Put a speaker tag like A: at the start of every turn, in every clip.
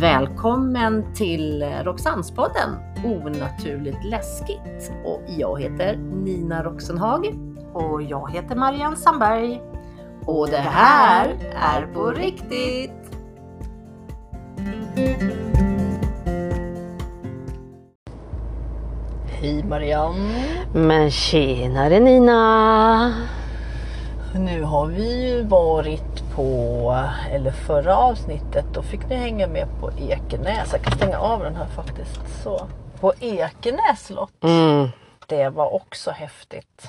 A: Välkommen till Roxannespodden Onaturligt läskigt. Och jag heter Nina Roxenhag.
B: Och jag heter Marianne Sandberg.
A: Och det här är på riktigt! Hej Marianne!
B: Men tjenare Nina!
A: Nu har vi ju varit på, eller förra avsnittet, då fick ni hänga med på Ekenäs. Jag kan stänga av den här faktiskt. Så. På Ekenäs slott.
B: Mm.
A: Det var också häftigt.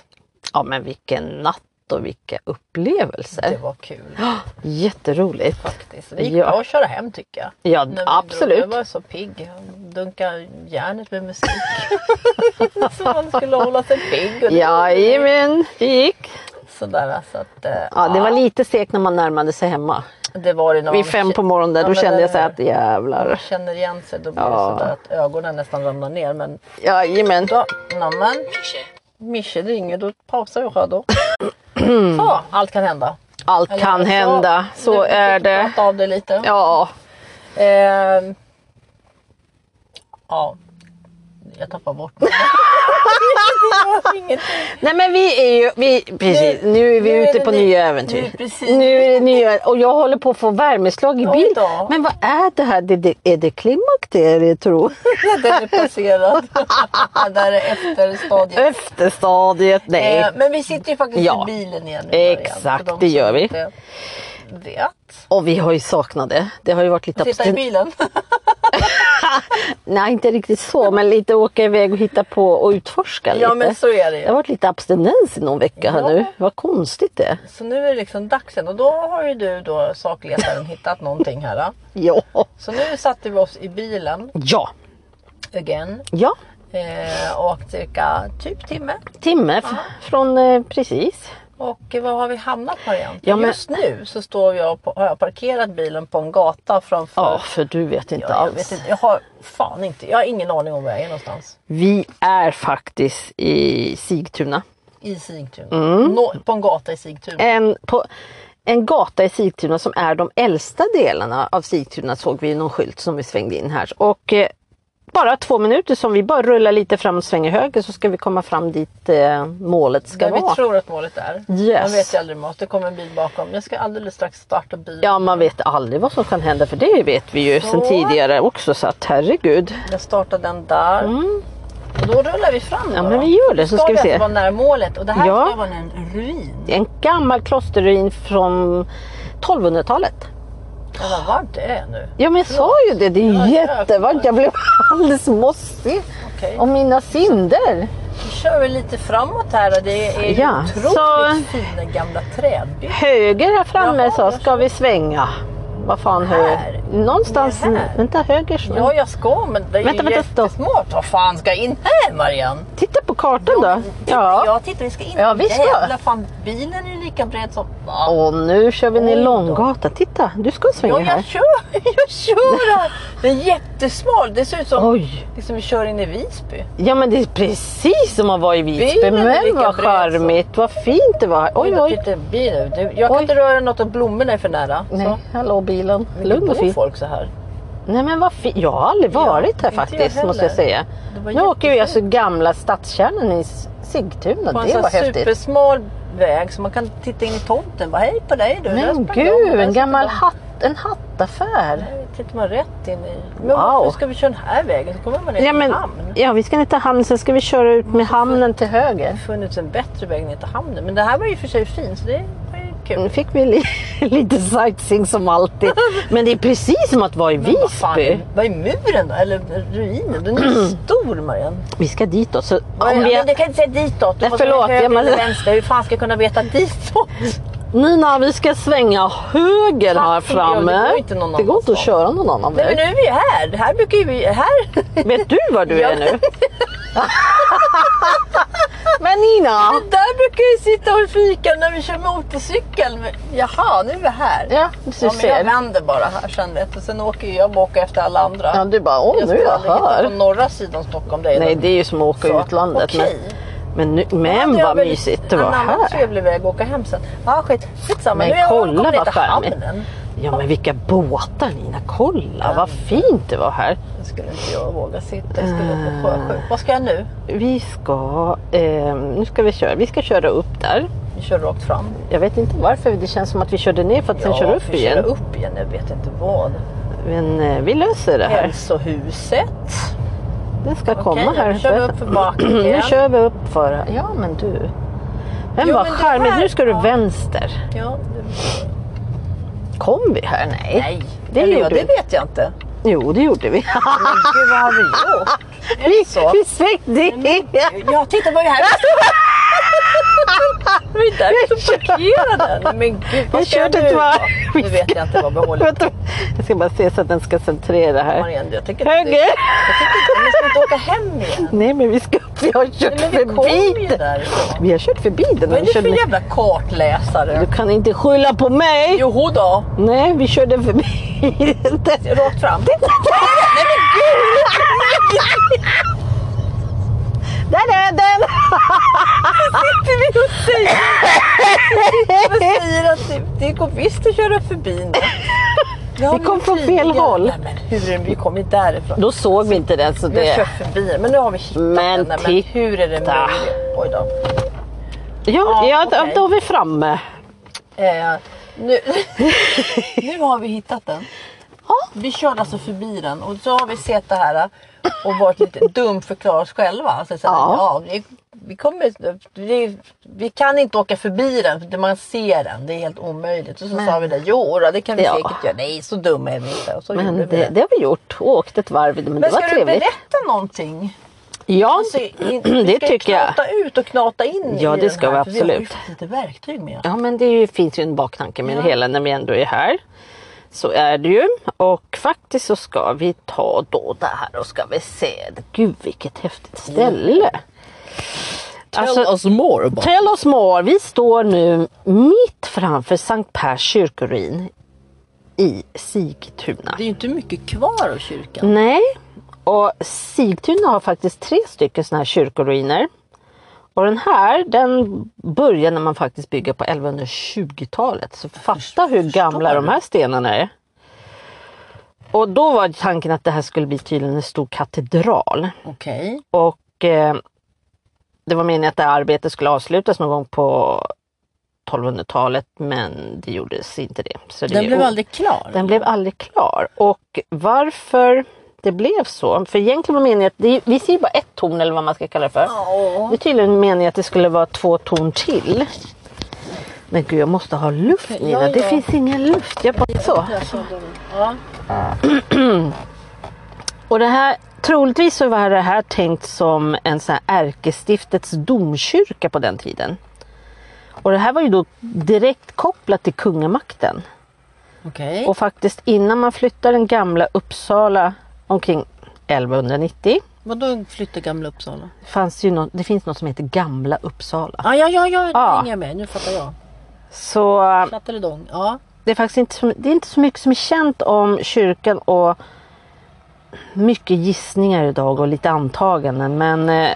B: Ja men vilken natt och vilka
A: Det
B: upplevelser.
A: var kul
B: Jätteroligt.
A: faktiskt. Det gick
B: Ja.
A: bra att köra hem tycker jag.
B: Ja
A: När vi drog,
B: absolut.
A: Jag var så pigg. Dunka järnet med musik. så man skulle hålla sig pigg. Och det-
B: Jajamän, det gick.
A: Sådär, så att, eh,
B: Ja, det var lite segt när man närmade sig hemma.
A: det var det när man
B: Vid fem på morgonen där,
A: Ja,
B: då
A: men
B: kände
A: eller
B: jag så här
A: hur?
B: att jävlar.
A: känner igen sig då blir
B: Ja.
A: det sådär att ögonen nästan ramlar ner. Men
B: Jajamän.
A: då, nämen. Mische ringer, då pausar jag här då. så, allt kan hända.
B: Allt
A: Eller
B: kan hända. Så
A: du fick
B: är det.
A: prata av det lite.
B: Ja.
A: Ehm, ja. Jag tappar bort mig. Ingenting.
B: Nej men vi är ju, vi, precis,
A: Nu-
B: nu är vi
A: nu är
B: ute
A: det
B: på
A: ny-
B: nya äventyr.
A: nu- precis.
B: Nu är det nya, och jag håller på att få värmeslag i
A: Oj
B: bild.
A: då.
B: Men vad är det här? Det, det, är det klimakteriet tro?
A: Den är passerad. Där är efterstadiet.
B: Efterstadiet? Nej.
A: Eh, men vi sitter ju faktiskt
B: Ja.
A: i bilen igen. nu, Marianne,
B: Exakt,
A: för de
B: det gör
A: som
B: vi.
A: inte Vet.
B: Och vi har ju saknat det. Det har ju varit lite
A: Sitta i
B: abstinent.
A: bilen.
B: Nej inte riktigt så men lite åka iväg och hitta på och utforska lite.
A: ja men så är det
B: Det har
A: ju.
B: varit lite abstinens i någon vecka här
A: Ja.
B: nu. Vad konstigt det är.
A: Så nu är det liksom dags igen och då har ju du då sakletaren hittat någonting här. Då.
B: Ja.
A: Så nu satte vi oss i bilen
B: Ja.
A: igen
B: Ja.
A: eh, och åkte cirka typ timme.
B: Timme f- från eh, precis.
A: Och eh, var har vi hamnat Marianne?
B: Ja, men-
A: Just nu så står jag på, har jag parkerat bilen på en gata framför.
B: Ja för du vet inte
A: jag, jag,
B: alls.
A: vet inte, jag har fan inte, jag har ingen aning om var jag är någonstans.
B: Vi är faktiskt i Sigtuna.
A: I Sigtuna.
B: Mm.
A: Nå, på en gata i Sigtuna.
B: En, på, en gata i Sigtuna som är de äldsta delarna av Sigtuna såg vi i någon skylt som vi svängde in här. Och eh, bara två minuter som vi bara rullar lite fram och svänger höger så ska vi komma fram dit eh, målet ska
A: Där vi
B: vara.
A: tror att målet är.
B: Yes.
A: Man vet ju aldrig mat. Det kommer en bil bakom. Jag ska alldeles strax starta bilen.
B: Ja man vet aldrig vad som kan hända för det vet vi ju
A: Så.
B: sedan tidigare också så att herregud.
A: Jag startar den där. Och då rullar vi fram.
B: Mm. Ja
A: då
B: men
A: då.
B: vi gör det så ska vi
A: alltså
B: se.
A: vara nära målet och det här
B: Ja.
A: ska vara en ruin.
B: En gammal klosterruin från 1200-talet.
A: Jag bara, vart är jag nu?
B: Ja men jag sa ju det, det är
A: Ja,
B: ju
A: ja.
B: jättevarmt. Jag blev alldeles mossig
A: Okej.
B: av mina synder.
A: Nu kör vi lite framåt här och det är ju
B: Ja,
A: otroligt
B: så-
A: fina gamla trädbyar.
B: Höger här framme
A: Jaha,
B: sa,
A: jag
B: ska vi svänga? Vad fan
A: Här?
B: höger? Någonstans,
A: Nej, här.
B: vänta höger. sväng.
A: Ja, jag ska men det är
B: Vänta,
A: ju
B: vänta, stopp.
A: jättesmart. Vad fan ska jag in här Marianne?
B: Titta på kartan då. Ja.
A: Ja, titta vi ska in.
B: Ja, vi ska.
A: Jävlar, fan bilen är ju lika bred som... Va?
B: Och nu kör vi ner
A: Oj då.
B: Långgatan. Titta, du ska svänga
A: Ja, jag
B: här.
A: kör! Jag kör! här. Den är jättesmal. Det ser ut som
B: Oj!
A: liksom, vi kör in i Visby.
B: Ja men det är precis som att vara i Visby.
A: Bilen är
B: Men
A: lika
B: vad
A: bred som-
B: charmigt, vad fint det var. här. Oj oj.
A: Titta, bil nu. Du, Jag kan
B: Oj.
A: inte röra något och blommorna är för nära.
B: Nej, hallå bilen.
A: Så.
B: Lugn och
A: Bor
B: fin.
A: folk så här.
B: Nej men vad fint. Jag har aldrig
A: Ja,
B: varit här
A: inte jag
B: faktiskt måste jag
A: heller.
B: säga.
A: Det var
B: Nu åker vi
A: jättefint.
B: alltså gamla stadskärnan i Sigtuna.
A: På en
B: Det
A: sån
B: var
A: här
B: häftigt.
A: supersmal väg så man kan titta in i tomten. Bara, hej på dig du. Där
B: Men
A: sprang de,
B: gud,
A: där
B: en
A: sitter
B: gammal
A: de.
B: hatt, en hattaffär.
A: Nej, Tittar man rätt in i... Men
B: Wow.
A: varför ska vi köra den här vägen? Så kommer man ner till
B: Ja, men,
A: hamn.
B: ja, vi ska ner till hamnen, sen ska vi köra ut med hamnen till
A: Det
B: höger.
A: har funnits en bättre väg ner till hamnen. Men det här var ju i och för sig fint så det var ju kul.
B: Nu fick vi li lite sightseeing som alltid. Men det är precis som att vara i
A: Men vad fan,
B: Visby.
A: Vad är muren då? Eller ruinen? Den är ju stor Marianne.
B: Vi ska dit då. Så
A: Om
B: om vi
A: Men du kan inte säga ditåt. Du
B: Nej,
A: måste
B: förlåt,
A: vara höger
B: jag menar-
A: eller vänster. Hur fan ska jag kunna veta ditåt?
B: Nina, vi ska svänga höger här
A: Tack, ja, det går
B: framme.
A: ju inte någon
B: Det går inte att
A: annanstans.
B: köra någon annan
A: Nej
B: väg.
A: men nu är vi ju här. Det Här brukar ju vi... Här.
B: Vet du var du
A: Ja.
B: är nu? Men Nina!
A: Där brukar vi sitta och fika när vi kör motorcykel. Men, jaha, nu är vi här.
B: Ja, du
A: Ja, men jag
B: ser.
A: vänder bara här sen vet du. Sen åker ju jag baka efter alla andra.
B: Ja, du bara, åh
A: jag
B: nu är
A: skulle
B: jag
A: aldrig hitta
B: här.
A: på norra sidan Stockholm. Det är
B: Nej
A: den.
B: det är ju som att åka
A: Så,
B: utlandet.
A: okej.
B: Men, men, nu,
A: Ja,
B: men
A: det är
B: vad
A: väl
B: mysigt det var
A: En annan typ.
B: här.
A: trevlig väg att åka hem sen. Ja skit, skitsamma.
B: Men
A: nu är jag-
B: kolla
A: kommer
B: vad
A: ner till
B: charmigt.
A: hamnen.
B: Ja men vilka båtar Nina, kolla
A: Ja.
B: vad fint det var här.
A: Nu skulle inte jag våga sitta, jag skulle bli
B: Ah.
A: sjösjuk. Vad ska jag nu?
B: Vi ska, eh, nu ska vi köra, vi ska köra upp där.
A: Vi kör rakt fram.
B: Jag vet inte varför, det känns som att vi körde ner för att sen köra upp
A: vi
B: igen.
A: Kör upp igen, jag vet inte vad.
B: Men eh, vi löser det här.
A: Hälsohuset.
B: Den ska komma
A: Okej,
B: här.
A: nu kör vi upp för backen
B: Nu
A: igen.
B: kör vi upp för... Ja men du. Men
A: Jo,
B: vad
A: men det
B: charmigt,
A: här-
B: nu ska du
A: ja.
B: vänster.
A: Ja, det...
B: Kom vi här? Nej.
A: Nej,
B: Det
A: det, Eller, ja,
B: gjorde
A: det
B: vi.
A: vet jag inte.
B: Jo det gjorde vi.
A: Men gud, vad har vi gjort? Är
B: vi,
A: det så?
B: vi svängde
A: Ja, titta vad är det här? Vi är där
B: Jag
A: ute och parkerade den. Men gud, vad
B: Jag
A: ska jag
B: körde
A: nu?
B: ett varv.
A: Ja, Nu vet jag inte vad behållet
B: Vänta, Jag ska bara se så att den ska centrera här.
A: Marianne, jag tänker inte...
B: Höger!
A: Jag tänker inte... Vi ska inte åka hem igen.
B: Nej men vi ska upp, vi har kört
A: Nej, men vi kom
B: förbi
A: ju
B: den.
A: därifrån.
B: Vi har kört förbi den.
A: Vad är
B: Vi
A: det för
B: körde-
A: jävla kartläsare?
B: Du kan inte skylla på mig!
A: Joho då,
B: Nej, vi körde förbi den.
A: rakt fram.
B: Där är den!
A: sitter vi och säger, och säger att det, det går visst att köra förbi nu. Det har
B: Vi kom
A: gjort
B: från fel
A: tidigare.
B: håll.
A: Nej, men hur, vi kom inte därifrån.
B: Då såg vi inte den så
A: Vi har
B: det...
A: kört förbi den, men nu har vi hittat
B: Men
A: den. Nej, men
B: titta.
A: hur är det möjligt? Oj då.
B: Ja,
A: Ja,
B: ja
A: okej.
B: då är vi framme.
A: Eh, nu, nu har vi hittat den.
B: Ja.
A: Vi körde alltså förbi den och så har vi sett det här eh, och varit lite dumförklara oss själva. Alltså, så här,
B: Ja.
A: ja, vi, vi, kommer, vi, vi kan inte åka förbi den för man ser den. Det är helt omöjligt. Och så sa vi det, jo då, det kan vi
B: Ja.
A: säkert göra. Nej så dumma är vi inte. Och så
B: Men
A: gjorde vi
B: det,
A: det.
B: det har vi gjort. Åkt ett varv, men, det
A: Men
B: var
A: ska du
B: trevligt.
A: berätta någonting?
B: Ja,
A: Alltså, i-
B: det
A: ska
B: tycker jag.
A: knata ut och knata in
B: Ja,
A: i
B: det
A: den
B: ska
A: här,
B: vi
A: för Vi har ju
B: absolut.
A: haft lite verktyg med oss.
B: Ja men det är ju, finns ju en baktanke med det hela när vi ändå är här. Så är det ju. Och faktiskt så ska vi ta då det här och ska vi se. Gud vilket häftigt ställe. Alltså,
A: us more about
B: tell oss more. Vi står nu mitt framför Sankt Pers kyrkoruin i Sigtuna.
A: Det är ju inte mycket kvar av kyrkan.
B: Nej, och Sigtuna har faktiskt tre stycken sådana här kyrkoruiner. Och den här den börjar när man faktiskt bygger på 1120-talet. Så fatta hur gamla de här stenarna är. Och då var tanken att det här skulle bli tydligen en stor katedral.
A: Okej.
B: Och eh, det var meningen att det här arbetet skulle avslutas någon gång på 1200-talet men det gjordes inte det. Så det
A: Den
B: är
A: blev
B: o-
A: aldrig klar.
B: den blev aldrig klar. Och varför det blev så? För egentligen var meningen att, det, vi ser ju bara ett torn eller vad man ska kalla det för.
A: Ja.
B: Det är tydligen meningen att det skulle vara två torn till. Men gud jag måste ha luft
A: Okej,
B: Nina,
A: ja,
B: det
A: ja.
B: finns ingen luft. Jag bara så.
A: Ja.
B: Och det här, troligtvis så var det här tänkt som en sån här ärkestiftets domkyrka på den tiden. Och det här var ju då direkt kopplat till kungamakten.
A: Okej.
B: Och faktiskt innan man flyttar den gamla Uppsala omkring 1190
A: Vadå flytta Gamla Uppsala?
B: fanns ju något, det finns något som heter Gamla Uppsala.
A: Ah, ja, ja, ja, nu
B: Ja.
A: hänger jag med. Nu fattar jag.
B: Så
A: Platteledång. Ja.
B: det är faktiskt inte, så- det är inte så mycket som är känt om kyrkan och mycket gissningar idag och lite antaganden men eh,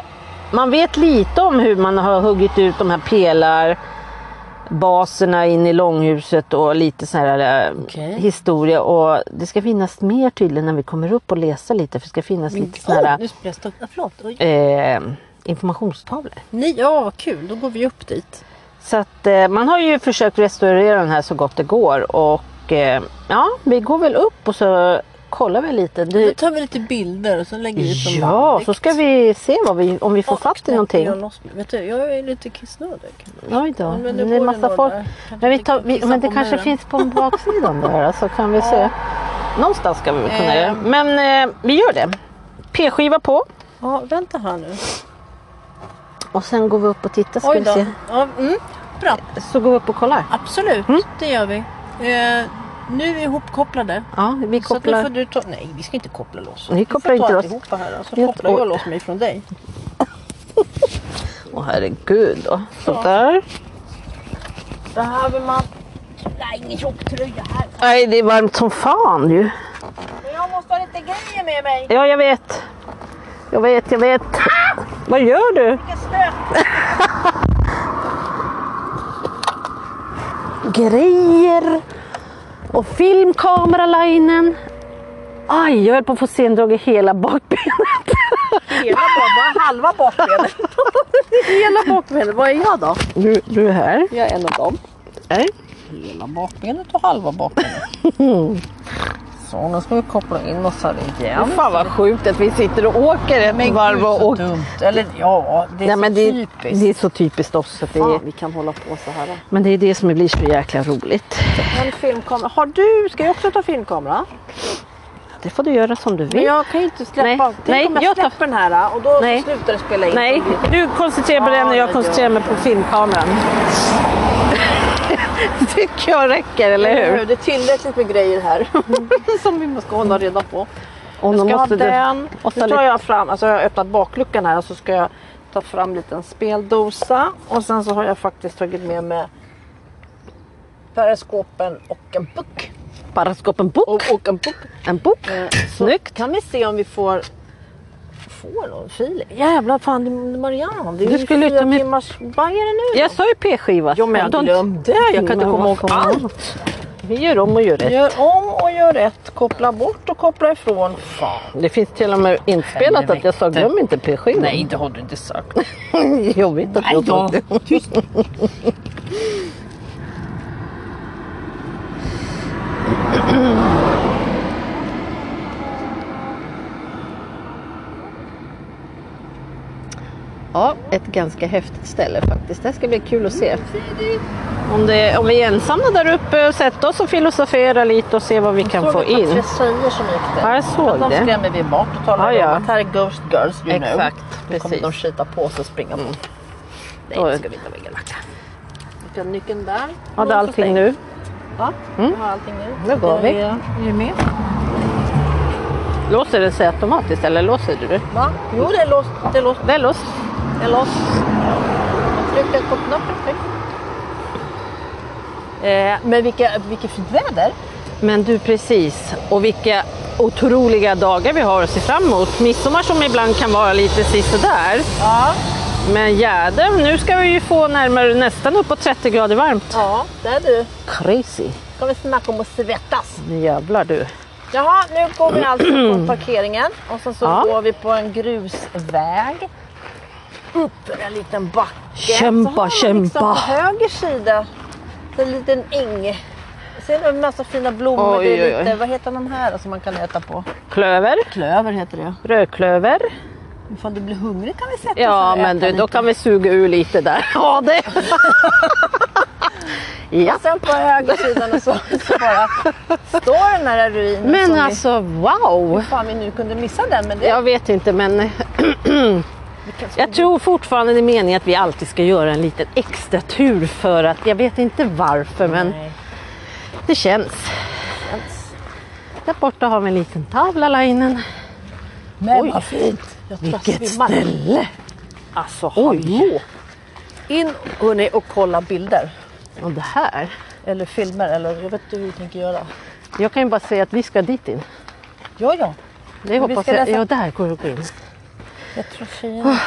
B: man vet lite om hur man har huggit ut de här pelarbaserna in i långhuset och lite så här eh,
A: Okej.
B: historia och det ska finnas mer tydligen när vi kommer upp och läser lite för det ska finnas lite sån
A: Oj,
B: här
A: nu blev jag stopp. Ah, förlåt. Oj.
B: eh, informationstavlor.
A: Nej, ja, vad kul. Då går vi upp dit.
B: Så att eh, man har ju försökt restaurera den här så gott det går och eh, ja, vi går väl upp och så kollar vi lite.
A: Då
B: Det,
A: tar vi lite bilder och så lägger vi ut dem
B: ja, så ska vi se vad vi, om vi får fatt i någonting.
A: Vet du, jag är lite kissnödig.
B: Oj då,
A: men
B: det
A: nu
B: är
A: går det
B: massa
A: någon
B: folk.
A: där. Kanske
B: Men, vi
A: vi
B: tar,
A: kan
B: vi,
A: kissa
B: men det
A: på
B: kanske
A: muren.
B: finns på baksidan där så kan vi se. Någonstans ska vi väl kunna
A: Eh.
B: göra Men eh, vi gör det. P-skiva på
A: Ja, vänta här nu.
B: och sen går vi upp och tittar. Ska
A: Oj
B: vi
A: då.
B: se.
A: Ja, mm, bra.
B: Så går vi upp och kollar.
A: Absolut, det gör vi. Eh, nu är vi ihopkopplade.
B: Ja, vi
A: Så att nu får
B: kopplar.
A: du ta... Nej, vi ska inte koppla loss.
B: Ni
A: Vi
B: kopplar
A: får ta
B: inte loss.
A: alltihopa Här, alltså,
B: Helt
A: kopplar jag
B: ord.
A: loss mig från dig.
B: Åh herregud då. Sådär.
A: Behöver man... Nej, ingen tjocktröja här.
B: Nej, det är varmt som fan ju.
A: Men jag måste ha lite grejer med mig.
B: Ja, jag vet. Jag vet, jag vet. Ah! Vad gör du?
A: Vilken stöt!
B: Grejer. Åh, Och filmkameralinen. Aj, jag höll på att få sendrag i hela bakbenet.
A: Hela bara, halva bakbenet. Hela bakbenet, vad är jag då?
B: Du, du är här.
A: Jag är en av dem.
B: Nej.
A: Hela bakbenet och halva bakbenet. Så nu ska vi koppla in oss här igen.
B: Fan vad sjukt att vi sitter och åker ett
A: Men
B: varv
A: gud,
B: och
A: så
B: åker.
A: dumt. Eller ja, det är
B: Nej,
A: så
B: men det,
A: typiskt.
B: det är så typiskt oss. Så att det är,
A: Fan, vi kan hålla på så här.
B: men det är det som blir så jäkla roligt.
A: En filmkamera. Har du, ska jag också ta filmkamera?
B: Det får du göra som du
A: Men
B: vill.
A: jag kan ju inte släppa.
B: Nej,
A: Tänk
B: nej,
A: om jag,
B: jag tar-
A: släpper den här och då
B: Nej.
A: slutar det spela in.
B: Nej, du koncentrerar på den och jag koncentrerar mig på filmkameran. tycker jag räcker, eller
A: Eller
B: hur?
A: hur? Det är tillräckligt med grejer här som vi måste hålla reda på.
B: Och
A: Jag
B: då
A: ska
B: måste du-
A: ha den.
B: och så
A: Nu tar
B: lite-
A: jag fram, alltså jag har öppnat bakluckan här och så ska jag ta fram en liten speldosa. Och sen så har jag faktiskt tagit med mig periskopen och en puck.
B: Bara skapa en bok.
A: Och, och en puck. Eh,
B: En bok. Snyggt.
A: Kan vi se om vi får Får någon fil? Jävlar fan det är Marianne, det är
B: Du
A: ju
B: skulle ju
A: fyra
B: ta med-
A: timmars... Vad är det nu?
B: Jag sa ju P-skiva.
A: Jo men jag
B: Don't-
A: glömde, jag kan inte
B: Men
A: komma
B: vad
A: ihåg
B: fan.
A: allt.
B: Vi gör om och gör rätt.
A: Gör om och gör rätt, koppla bort och koppla ifrån. Fan.
B: Det finns till och med inspelat att jag sa
A: Helvete.
B: glöm inte P-skivan.
A: Nej det har du inte sagt.
B: jag vet att
A: Nej
B: jag
A: då.
B: tog det.
A: Tyst.
B: Ja, ett ganska häftigt ställe faktiskt. Det här ska bli kul att se. Om, det, om vi är ensamma där uppe och sätter oss och filosoferar lite och ser vad vi kan få
A: Såg du att
B: in.
A: Tre tjejer som gick där.
B: Ja, jag såg
A: Att de
B: det.
A: skrämde vi bort och talade
B: Ja, ja.
A: om att här är Ghost Girls you know.
B: Exakt,
A: Då kommer
B: precis.
A: de skita på sig och springa på. Nej, det ska vi inte vara elaka. Vi har nyckeln där.
B: Har du allting nu?
A: Ja, har allting nu.
B: Nu går vi.
A: Är är du med?
B: Låser den sig automatiskt eller låser du? det?
A: Va? Jo, det är låst. Det är låst.
B: Det är låst.
A: Det är låst. Jag tryckte på knappen. Tryck. Eh, men vilka, vilket fint väder.
B: Men du precis, och vilka otroliga dagar vi har att se fram emot. Midsommar som ibland kan vara lite sisådär.
A: Ja.
B: Men jäder, nu ska vi ju få närmare nästan uppåt 30 grader varmt.
A: ja, det är du.
B: Crazy.
A: Ska vi snacka om att svettas.
B: Nu jävlar du.
A: Jaha, nu går vi alltså från parkeringen och sen så
B: Ja.
A: går vi på en grusväg. Upp för en liten backe.
B: Kämpa,
A: så har man Liksom
B: kämpa.
A: på höger sida en liten äng. Ser du en massa fina blommor?
B: Oj,
A: det är
B: oj, oj.
A: lite, Vad heter de här som man kan äta på?
B: Klöver,
A: Klöver heter det.
B: rödklöver.
A: Ifall du blir hungrig kan vi sätta
B: Ja,
A: oss här och
B: men
A: äta
B: du, då
A: lite.
B: kan vi suga ur lite där. Ja, det. ja.
A: Sen på högersidan och så, så bara står den här ruinen
B: Men
A: som
B: alltså wow!
A: vi, fan, vi nu kunde missa den. Men det,
B: Jag vet inte, men
A: vi kanske
B: jag tror fortfarande det är meningen att vi alltid ska göra en liten extra tur för att jag vet inte varför, men
A: Nej.
B: det känns. Där borta har vi en liten tavla, Lainen.
A: Men
B: Oj.
A: vad fint! Jag tror jag
B: Vilket
A: svimmar.
B: ställe!
A: Alltså hallå!
B: Oj!
A: In hörni och kolla bilder.
B: Och det här.
A: Eller filmer eller jag vet inte hur vi tänker göra.
B: Jag kan ju bara säga att vi ska dit in.
A: Ja, ja.
B: Det
A: vi
B: hoppas
A: ska
B: jag.
A: läsa-
B: Ja, där går det att gå in.
A: Jag tror tjejerna...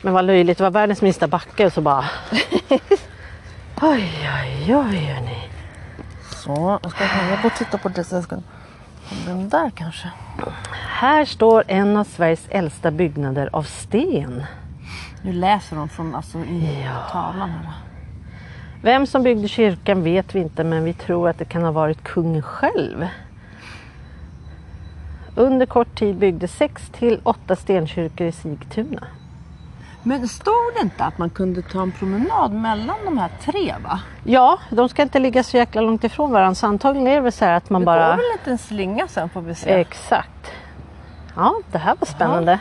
B: Men vad löjligt, det var världens minsta backe och så bara... oj, oj, oj hörni.
A: Så, jag ska jag gå och titta på det sen. Ska... Den där kanske?
B: Här står en av Sveriges äldsta byggnader av sten.
A: Nu läser de från alltså, i tavlan här.
B: Vem som byggde kyrkan vet vi inte men vi tror att det kan ha varit kungen själv. Under kort tid byggdes sex till åtta stenkyrkor i Sigtuna.
A: Men stod det inte att man kunde ta en promenad mellan de här tre va?
B: Ja, de ska inte ligga så jäkla långt ifrån varandra så antagligen är det väl så här att man
A: Det
B: bara...
A: går väl en liten slinga sen får vi se.
B: Exakt. Ja, det här var spännande.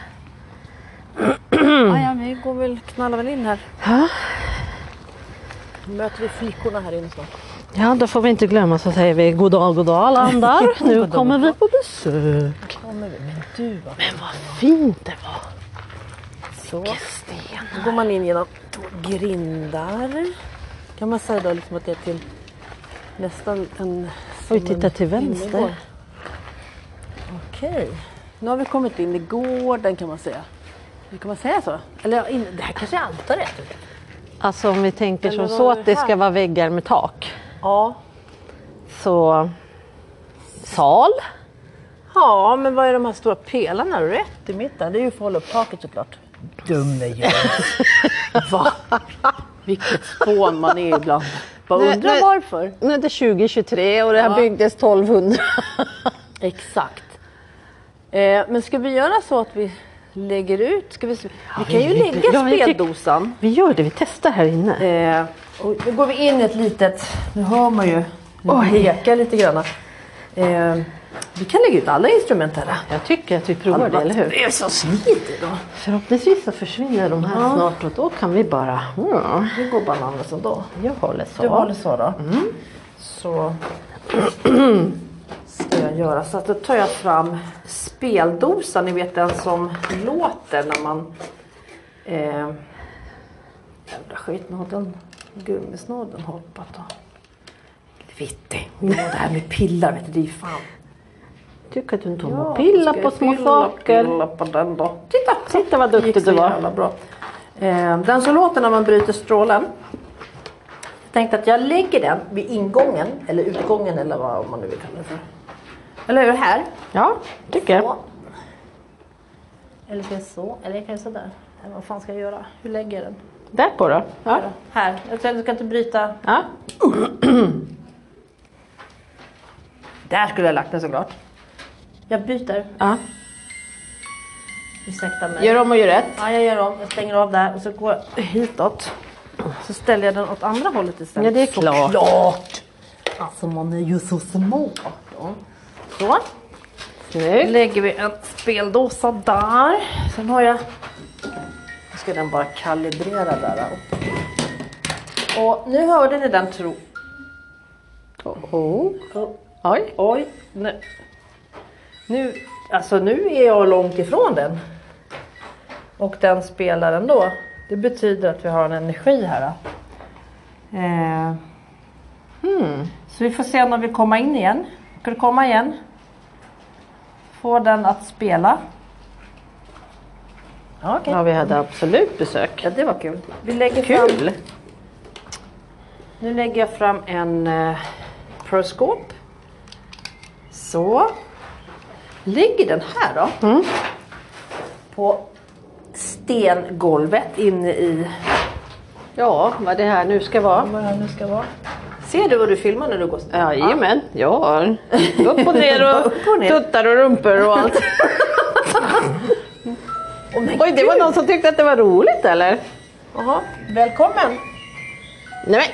A: Ja, ja, vi går väl, knallar väl in här. Möter vi flickorna här inne snart?
B: Ja, då får vi inte glömma så säger vi god dag, god dag alla andar. Nu kommer vi på besök.
A: Kommer vi? Men du vad
B: Men vad fint det var.
A: Så.
B: Sten.
A: Då går man in genom två grindar. Kan man säga då liksom att det är till nästan en...
B: Oj,
A: som
B: titta
A: en
B: till vänster.
A: innergård. Okej. Nu har vi kommit in i gården kan man säga. Kan man säga så? Eller ja, in, det här kanske är altaret?
B: Alltså om vi tänker som
A: Eller vad
B: så
A: var det
B: att det
A: här?
B: ska vara väggar med tak.
A: Ja.
B: Så sal.
A: Ja, men vad är de här stora pelarna rätt i mitten? Det är ju för att hålla upp taket såklart. Dumme Jöns. Va? Vilket spån man är ibland. Bara
B: Nej,
A: undrar
B: nej.
A: varför.
B: Nu är det 2023 och det här
A: Ja.
B: byggdes 1200.
A: Exakt. Eh, men ska vi göra så att vi lägger ut? Ska vi, se- vi kan ju
B: vi-
A: lägga
B: ja, vi-
A: speldosan.
B: Vi gör det, vi testar här inne.
A: Eh, och nu går vi in i ett litet, nu hör man ju, nu ekar lite grann. Eh, vi kan lägga ut alla instrument här.
B: Jag tycker att vi provar det, eller hur?
A: Alltså, Det är så smidigt idag.
B: Förhoppningsvis så försvinner de här snart och då kan vi bara... Mm.
A: Nu går bananas ändå.
B: Jag håller så.
A: Du håller så då? Så ska jag göra så att då tar jag fram speldosan, ni vet den som låter när man... Eh, jävla skit, nu har den gummisnodden hoppat. Och... Vitti, det här med pillar vet du, det är ju fan...
B: Tycker att du inte
A: Ja,
B: ja, pilla
A: ska
B: på
A: jag
B: små
A: pilla,
B: saker.
A: Pilla på den då. Titta!
B: Titta vad duktig
A: Gick så
B: du var.
A: jävla Bra. Eh, Den som låter när man bryter strålen. Jag tänkte att jag lägger den vid ingången, eller utgången eller vad man nu vill kalla det för. Eller hur? Här.
B: Ja, tycker
A: Så.
B: jag.
A: Eller finns så, eller jag kan sådär. Nej, Vad fan ska jag göra? Hur lägger jag den?
B: Där på då. Ja.
A: Här. Jag tänkte, jag ska inte bryta.
B: Ja.
A: Där skulle jag lagt den såklart. Jag byter.
B: Ja.
A: Ursäkta mig.
B: Gör om och gör rätt.
A: Ja, jag gör om. Jag stänger av där och så går jag hitåt. Så ställer jag den åt andra hållet istället.
B: Ja, det är klart.
A: Såklart! Alltså man är ju så smart. Ja. Så, nu
B: Snyggt.
A: lägger vi en speldosa där. Sen har jag... Nu ska den bara kalibrera där. då. Och nu hörde ni den tro...
B: Oh, oh.
A: Oh,
B: Oj.
A: oj, nu. nu... Alltså nu är jag långt ifrån den. Och den spelar ändå. Det betyder att vi har en energi här. Då. Eh. Så vi får se om den vill komma in igen. Ska du komma igen? Få den att spela. Ja, okej.
B: Ja, vi hade absolut besök.
A: Ja, det var kul. Vi lägger Fram,
B: Kul!
A: nu lägger jag fram en eh, periskop. Så. Ligger den här då?
B: Mm.
A: På stengolvet inne i...
B: Ja, vad det här nu ska vara.
A: Vad det nu ska vara. Ser du vad du filmar när du går?
B: Jajamän, jag har upp och ner och
A: Upp och ner.
B: tuttar och rumpor och allt.
A: Åh, men
B: Oj, det var
A: gud.
B: någon som tyckte att det var roligt eller?
A: Jaha, Välkommen!
B: Nej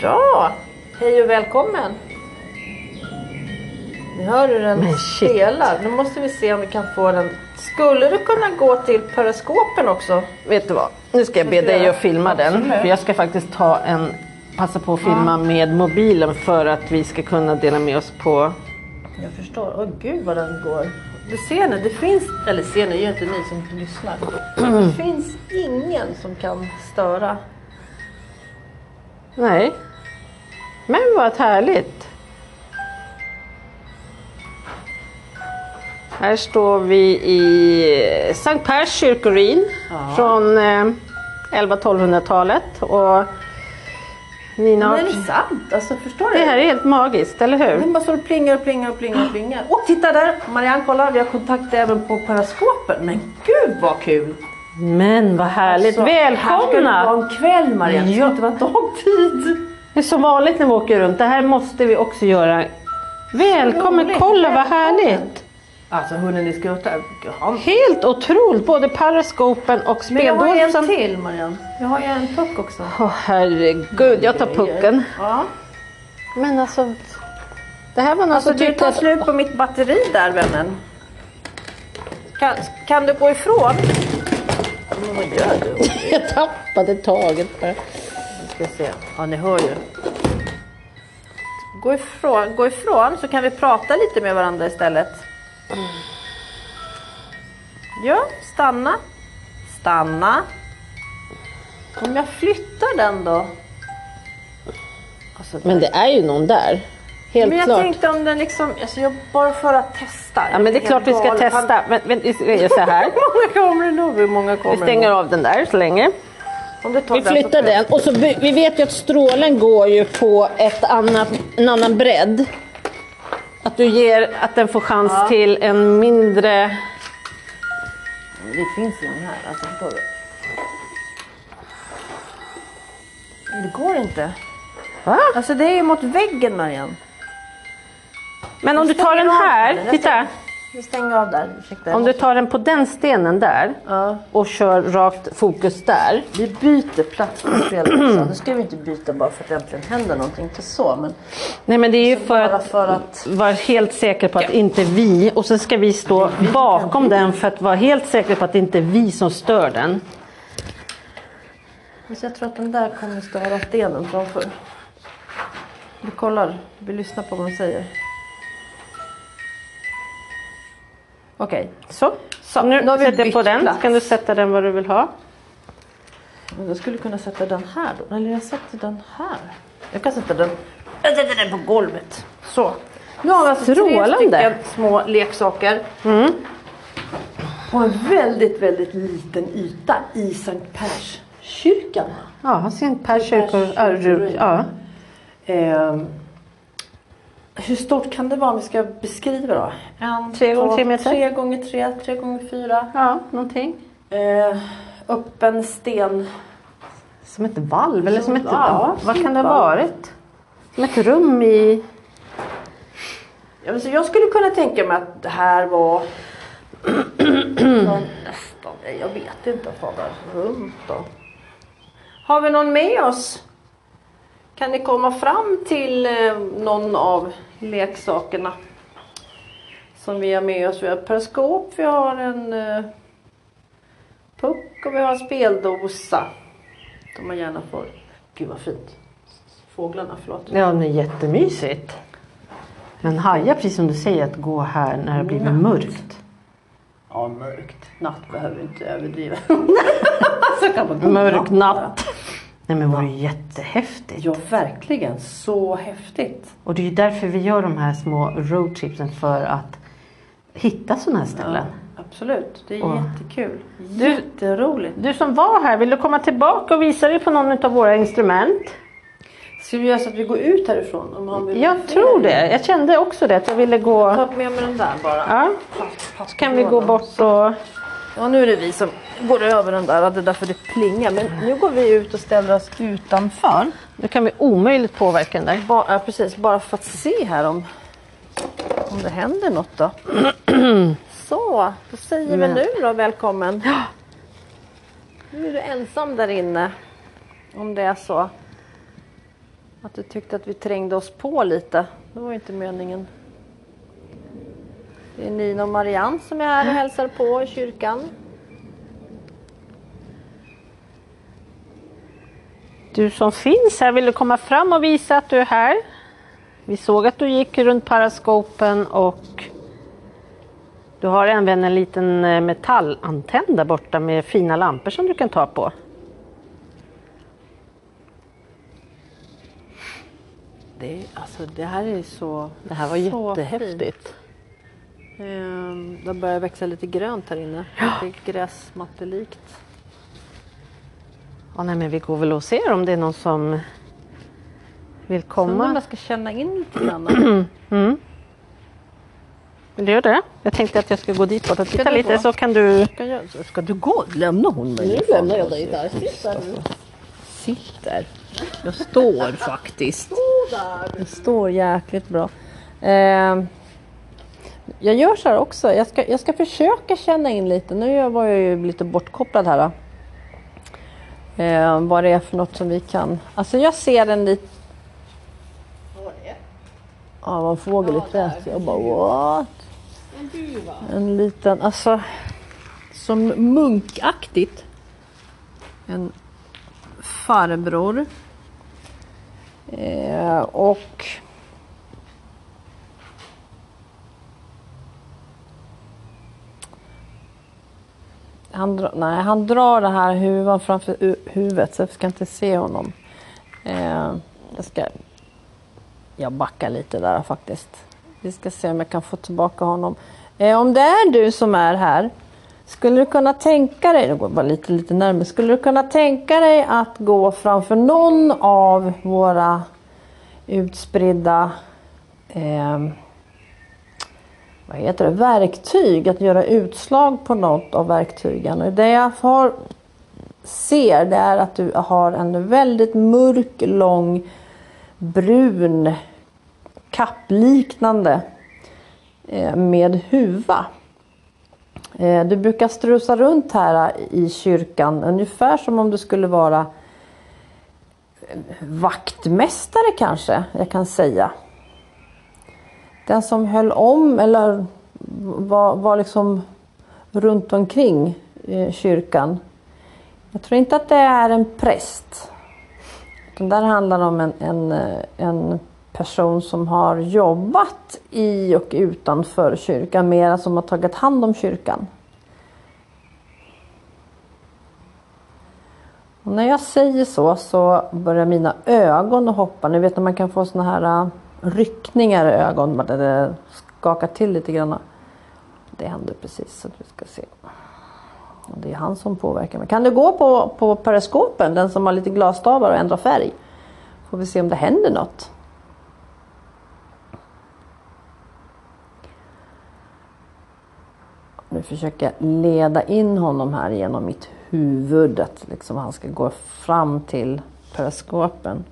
A: Bra! Hej och välkommen! Nu hör du den
B: Men shit.
A: spelar. Nu måste vi se om vi kan få den. Skulle du kunna gå till periskopen också?
B: men vet du vad? Nu ska jag be dig att filma den. För jag ska faktiskt ta en, passa på att filma med mobilen för att vi ska kunna dela med oss på...
A: Jag förstår. Åh gud vad den går. Det ser ni, det finns, eller ser ni, det är ju inte ni som lyssnar. Det finns ingen som kan störa.
B: Nej. Men vad härligt! Här står vi i Sankt Pers kyrkoruin från eh, 1100-1200-talet. Och Nina,
A: Men är det sant? Alltså förstår du?
B: det här är helt magiskt, eller hur?
A: Den bara står och plingar och plingar och plingar och plingar. Och titta där! Marianne kolla, vi har kontakt även på periskopen. Men gud vad kul!
B: Men vad härligt!
A: Så Här ska det
B: Välkomna!
A: vara en kväll Marianne, det ska
B: Ja.
A: inte vara dagtid.
B: Det är som vanligt när vi åker runt, det här måste vi också göra. Välkommen,
A: Roligt,
B: kolla vad
A: välkommen.
B: härligt!
A: Alltså hunden i skuttar.
B: Helt otroligt, både paraskopen och
A: Men jag har ju en
B: speldosan.
A: till Marianne. Jag har ju en puck också.
B: Åh herregud, jag tar pucken.
A: Ja.
B: Men alltså, det här var någon
A: Alltså
B: som
A: du
B: tyckte
A: tar
B: att...
A: slut på mitt batteri där vännen. Kan, kan du gå ifrån? Men vad gör du?
B: Jag tappade taget bara.
A: ska se. Ja, ni hör ju. Gå ifrån, gå ifrån så kan vi prata lite med varandra istället. Ja, stanna. Stanna. Om jag flyttar den då? Alltså,
B: Men det är ju någon där. Helt
A: men jag
B: klart.
A: tänkte om den liksom, alltså jag bara för att testa.
B: Ja, men det är
A: Helt
B: klart vi ska
A: galen.
B: testa. Men, men vi gör så här.
A: Hur många kommer det nog? Hur många
B: Vi
A: kommer det
B: stänger av den där så länge.
C: Om du tar
B: Vi
A: Alltså,
C: den så
B: flyttar
C: tar jag-
B: den och så vi, vi vet ju att strålen går ju på ett annat, en annan bredd. Att du ger, att den får chans till en mindre...
A: Det finns ju en här, alltså förstår du? Men Det går inte.
B: Va?
A: Alltså det är ju mot väggen Marianne.
B: Men om du tar den här, titta.
A: Vi stänger av där, ursäkta.
B: Om du tar den på den stenen där
A: Ja.
B: och kör rakt fokus där.
A: Vi byter plats på spelare också. Nu ska vi inte byta bara för att det äntligen händer någonting, inte så men
B: Nej men det är ju för
A: Liksom bara
B: att
A: för att...
B: vara helt säker på att inte vi, och sen ska vi stå bakom den för att vara helt säker på att det inte är vi som stör den.
A: Så jag tror att den där kommer störa stenen framför. Vi kollar, vi lyssnar på vad de säger. Okej,
B: Så, så. nu
A: nu har vi
B: sätter jag på
A: bytt
B: den.
A: plats.
B: Kan du sätta den var du vill ha?
A: men jag skulle kunna sätta den här då. Eller jag sätter den här. Jag kan sätta den... Jag sätter den på golvet. Så. Nu har vi alltså
B: Strålande.
A: tre stycken små leksaker. På en väldigt, väldigt liten yta i Sankt Perskyrkan.
B: Ja, Sankt Per kyrkor. ja, ru- Ja.
A: Ehm, hur stort kan det vara om vi ska beskriva då? En,
B: Tre gånger
A: två,
B: tre meter.
A: Tre gånger tre, tre gånger fyra.
B: ja, någonting.
A: Eh, öppen sten.
B: Som ett valv eller som ett...
A: Ja, typ
B: vad kan det ha
A: valv.
B: varit? Som ett rum i...
A: Ja, men så jag skulle kunna tänka mig att det här var någon, nästan, nej, jag vet inte, vad det var runt då. Har vi någon med oss? Kan ni komma fram till eh, någon av leksakerna som vi har med oss? Vi har ett periskop, vi har en eh, puck och vi har en speldosa. Som man gärna får. Gud vad fint. Fåglarna, förlåt.
B: Ja, men jättemysigt. Men haja, precis som du säger, att gå här när det blir mörkt.
A: Ja, mörkt. Natt behöver vi inte överdriva. så kan man gå
B: Mörk
A: natt.
B: natt. Nej men det vore ju jättehäftigt.
A: Ja, verkligen. Så häftigt.
B: Och det är ju därför vi gör de här små roadtripsen för att hitta sådana här ställen.
A: Absolut. Det är
B: Åh.
A: jättekul. Jätteroligt.
B: Du som var här, vill du komma tillbaka och visa dig på någon av våra instrument?
A: Ska vi göra så att vi går ut härifrån? Om han vill
B: Jag tror det. Jag kände också det, att jag ville gå...
A: Ta med mig den där bara.
B: Ja, så kan vi gå bort och...
A: Ja, nu är det vi som går över den där. Det är därför det plingar. Men nu går vi ut och ställer oss utanför.
B: Nu kan vi omöjligt påverka den där.
A: Bara, precis, bara för att se här om, om det händer något då. Så, då säger vi nu då välkommen. Nu är du ensam där inne. Om det är så att du tyckte att vi trängde oss på lite. Det var ju inte meningen. Det är Nina och Marianne som är här och hälsar på i kyrkan.
B: Du som finns här, vill du komma fram och visa att du är här? Vi såg att du gick runt paraskopen och du har även en liten eh, metallantenn där borta med fina lampor som du kan ta på.
A: Det, alltså, det här är så...
B: Det här var
A: Så
B: jättehäftigt.
A: Ehm, Det börjar växa lite grönt här inne. Det är gräsmattelikt.
B: Ja, nej, men vi går väl och ser om det är någon som vill
A: Undrar om
B: komma.
A: jag ska känna in lite grann.
B: Vill du göra det? Jag tänkte att jag skulle gå dit bort och titta
A: du
B: lite
A: gå?
B: så kan du...
A: Ska, jag, ska du gå? Lämna hon mig? Nu lämnar jag dig där. Sitt där nu. Sitt där. Jag står faktiskt. Jag står jäkligt bra. Ehm, jag gör så här också. Jag ska, jag ska försöka känna in lite. Nu var jag ju lite bortkopplad här. Då. Ehm, vad det är för något som vi kan... Alltså jag ser en liten... Ja, det var en fågel i träet. Jag bara what? En duva. En liten, alltså som munkaktigt. En farbror. Eh, och han, dra, nej, han drar det här huvan framför hu- huvudet så jag ska inte se honom. Eh, jag, ska, jag backar lite där faktiskt. Vi ska se om jag kan få tillbaka honom. Eh, om det är du som är här Skulle du kunna tänka dig, nu går jag bara lite, lite närmare, skulle du kunna tänka dig att gå framför någon av våra utspridda ehm, vad heter det, verktyg, att göra utslag på något av verktygen. Och det jag har, ser det är att du har en väldigt mörk, lång, brun, kappliknande eh, med huva. Eh, Du brukar strusa runt här eh, i kyrkan ungefär som om du skulle vara eh, vaktmästare kanske jag kan säga. Den som höll om eller var, var liksom runt omkring eh, kyrkan. Jag tror inte att det är en präst. Utan där handlar det om en, en, eh, en person som har jobbat i och utanför kyrkan. Mera som har tagit hand om kyrkan. Och när jag säger så så börjar mina ögon att hoppa. Ni vet när man kan få såna här äh, ryckningar i ögonen. bara Det skakar till lite grann. Det hände precis så vi ska se. Och Det är han som påverkar mig. Kan du gå på, på periskopen, den som har lite glasstavar och ändra färg? Får vi se om det händer något. Nu försöker jag leda in honom här genom mitt huvud. Att liksom han ska gå fram till periskopen.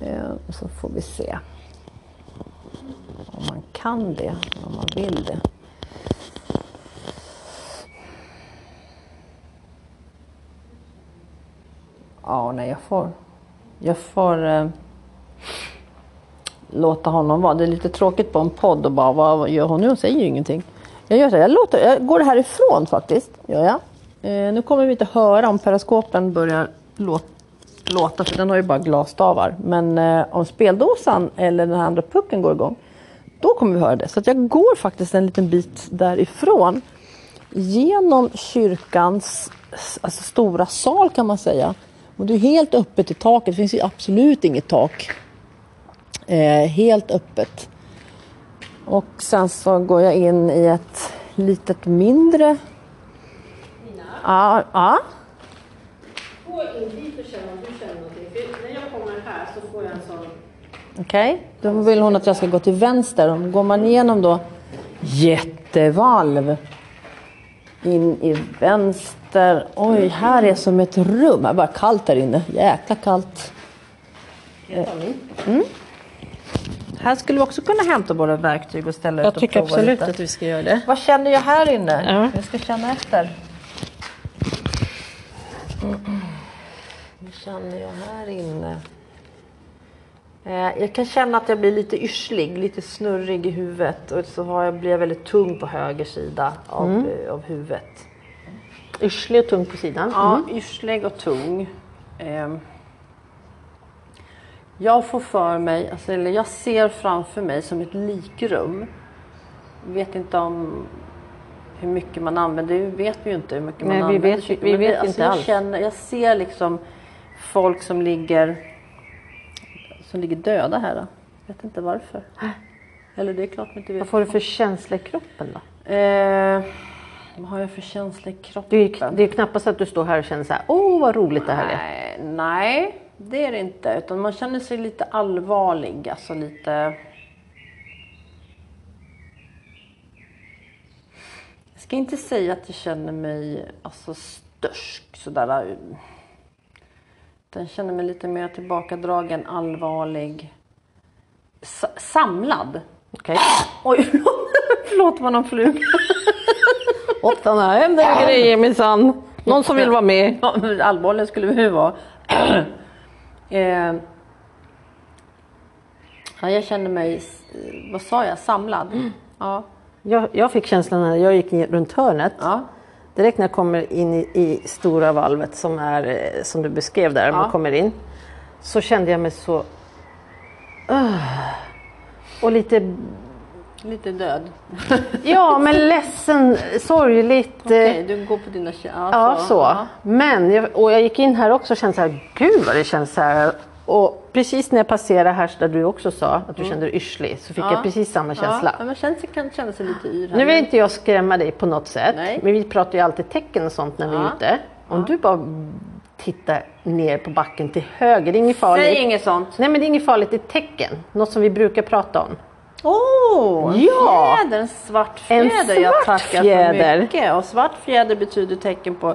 A: Eh, Så får vi se om man kan det, om man vill det. Ja, nej, jag får... Jag får eh, låta honom vara. Det är lite tråkigt på en podd och bara, vad vad gör hon nu? Hon säger ju ingenting. Jag gör så, här, jag, låter, jag går härifrån faktiskt. Gör jag. Eh, nu kommer vi inte höra om periskopen börjar låta, låta för den har ju bara glasstavar. Men eh, om speldosan eller den här andra pucken går igång, då kommer vi höra det. Så att jag går faktiskt en liten bit därifrån. Genom kyrkans alltså, stora sal kan man säga. Och det är helt öppet i taket, det finns ju absolut inget tak. Eh, helt öppet. Och sen så går jag in i ett litet mindre... Ja, ja.
B: Gå in dit och känn om du känner någonting. För när jag kommer här så får jag en sån...
A: Okej, då vill hon att jag ska gå till vänster. Om Går man igenom då jättevalv in i vänster. Oj, här är som ett rum. Det är bara kallt där inne. Jäkla kallt. Mm. Här skulle vi också kunna hämta våra verktyg och ställa ut
B: Jag
A: och
B: tycker
A: prova
B: absolut
A: lite.
B: att vi ska göra det.
D: Vad känner jag här inne?
B: Ja.
D: Jag ska känna efter.
B: Mm.
D: Vad känner jag här inne?
A: Eh, Jag kan känna att jag blir lite yrslig, lite snurrig i huvudet och så har jag, blir jag väldigt tung på höger sida av, eh, av huvudet.
B: Yrslig och tung på sidan. Mm.
A: Ja, yrslig och tung. Ehm, Jag får för mig, alltså, eller jag ser framför mig som ett likrum. Vet inte om hur mycket man använder, det vet vi ju inte hur mycket man
B: Nej, vi
A: använder.
B: vet ju-
A: kyrkan,
B: vi
A: men
B: vet
A: alltså,
B: inte
A: jag
B: alls.
A: Känner, jag ser liksom folk som ligger, som ligger döda här. Då. Vet inte varför. Eller det är klart man inte vet.
B: Vad får du för känsla i kroppen då?
A: Eh, vad har jag för känsla i
B: Det
A: kroppen?
B: är, ju, det är ju knappast att du står här och känner så här, åh vad roligt det här är.
A: Nej, nej, det är det inte. Utan man känner sig lite allvarlig. Alltså lite... Jag ska inte säga att jag känner mig alltså, störsk sådär. Utan jag känner mig lite mer tillbakadragen, allvarlig. Sa- samlad.
B: Okej.
A: Oj, förlåt vad någon flug.
B: Hopp, den här händer grejer minsann. Någon som vill vara med.
A: Ja, men allvarlig skulle vi ju vara. eh, ja, jag känner mig, eh, vad sa jag, samlad?
B: Mm.
A: Ja.
B: Jag, jag fick känslan när jag gick in runt hörnet.
A: ja.
B: Direkt när jag kommer in i, i stora valvet som är eh, som du beskrev där, man kommer in. Så kände jag mig så... Öh. och lite,
A: Lite död.
B: ja men ledsen, sorgligt. eh,
A: Nej, du går på dina kä-
B: Ja, så.
A: Ja.
B: Men, jag, och jag gick in här också och kände så här, gud vad det känns så här Och precis när jag passerade här där du också sa att du kände dig yrslig så fick
A: Mm. Ja.
B: jag precis samma känsla.
A: Ja, men känns, kan känna sig lite yr här.
B: Nu vill inte jag skrämma dig på något sätt,
A: Nej.
B: men vi pratar ju alltid tecken och sånt när vi
A: Ja.
B: är ute. Om du bara tittar ner på backen till höger, det är inget farligt.
E: Säg inget sånt.
B: Nej men det är inget farligt, det är tecken. Något som vi brukar prata om.
A: Åh! en
B: Ja.
A: Fjäder, en Oh, svart
B: En
A: fjäder. jag
B: svart
A: tackar
B: fjäder.
A: för mycket. Och svart fjäder betyder tecken på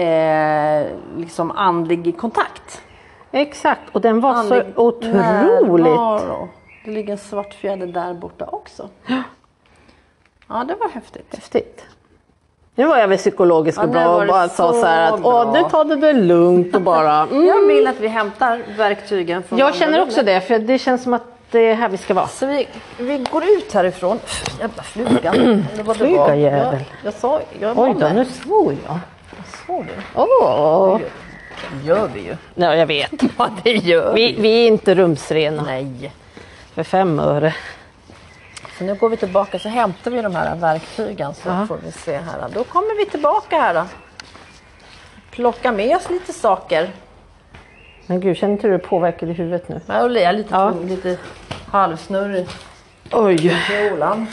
A: eh, liksom andlig kontakt.
B: Exakt, och den var så
A: Andlig
B: otroligt.
A: närvaro. Det ligger en svart fjäder där borta också. Ja, det var häftigt.
B: Häftigt. Nu var jag väl psykologisk och
A: Ja, nu
B: bra
A: var
B: och
A: det
B: bara sa
A: så
B: så här att Åh,
A: bra."
B: nu tar du det lugnt och bara. Mm.
A: Jag vill att vi hämtar verktygen från
B: Jag
A: andra
B: känner också
A: rummet.
B: det, för det känns som att det är här vi ska vara.
A: Så vi, vi går ut härifrån. Jävla fluga. Eller vad det
B: Fluga,
A: var.
B: jävel.
A: Jag, jag sa, jag var
B: Oj då,
A: med.
B: nu svor jag.
A: Såg du?
B: Åh!
A: Det gör vi ju.
B: Ja, jag vet.
A: Ja, det gör
B: Vi, vi är inte rumsrena
A: Nej.
B: för fem öre.
A: Så nu går vi tillbaka så hämtar vi de här verktygen så
B: Ja.
A: får vi se här. Då kommer vi tillbaka här då. Plocka med oss lite saker.
B: Men gud, känner inte du hur påverkad i huvudet nu?
A: Jag är lite,
B: Ja.
A: tung, lite halvsnurrig
B: Oj!
A: i kjolan.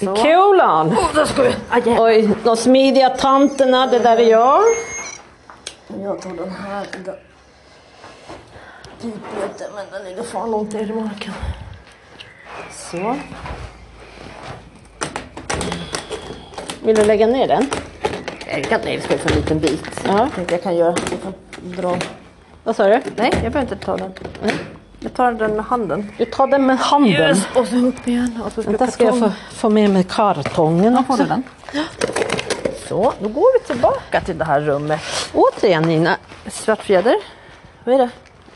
B: I kolan!
A: Då ska vi... Aj,
B: Oj, de smidiga tanterna, det där är jag.
A: jag tar den här. Då. Piper inte, men den ligger fan långt ner i marken. Så.
B: Vill du lägga ner den?
A: Jag kan, nej, vi ska ju få en liten bit.
B: Ja.
A: Jag tänkte jag kan göra. Jag kan dra.
B: Vad sa du?
A: Nej, jag behöver inte ta den. Jag tar den med handen.
B: Du tar den med handen.
A: Och så upp igen. Och så ska
B: Vänta, ska jag få, få med mig kartongen också?
A: Så, då går vi tillbaka till det här rummet.
B: Återigen Nina,
A: Svartfjäder. Vad är det?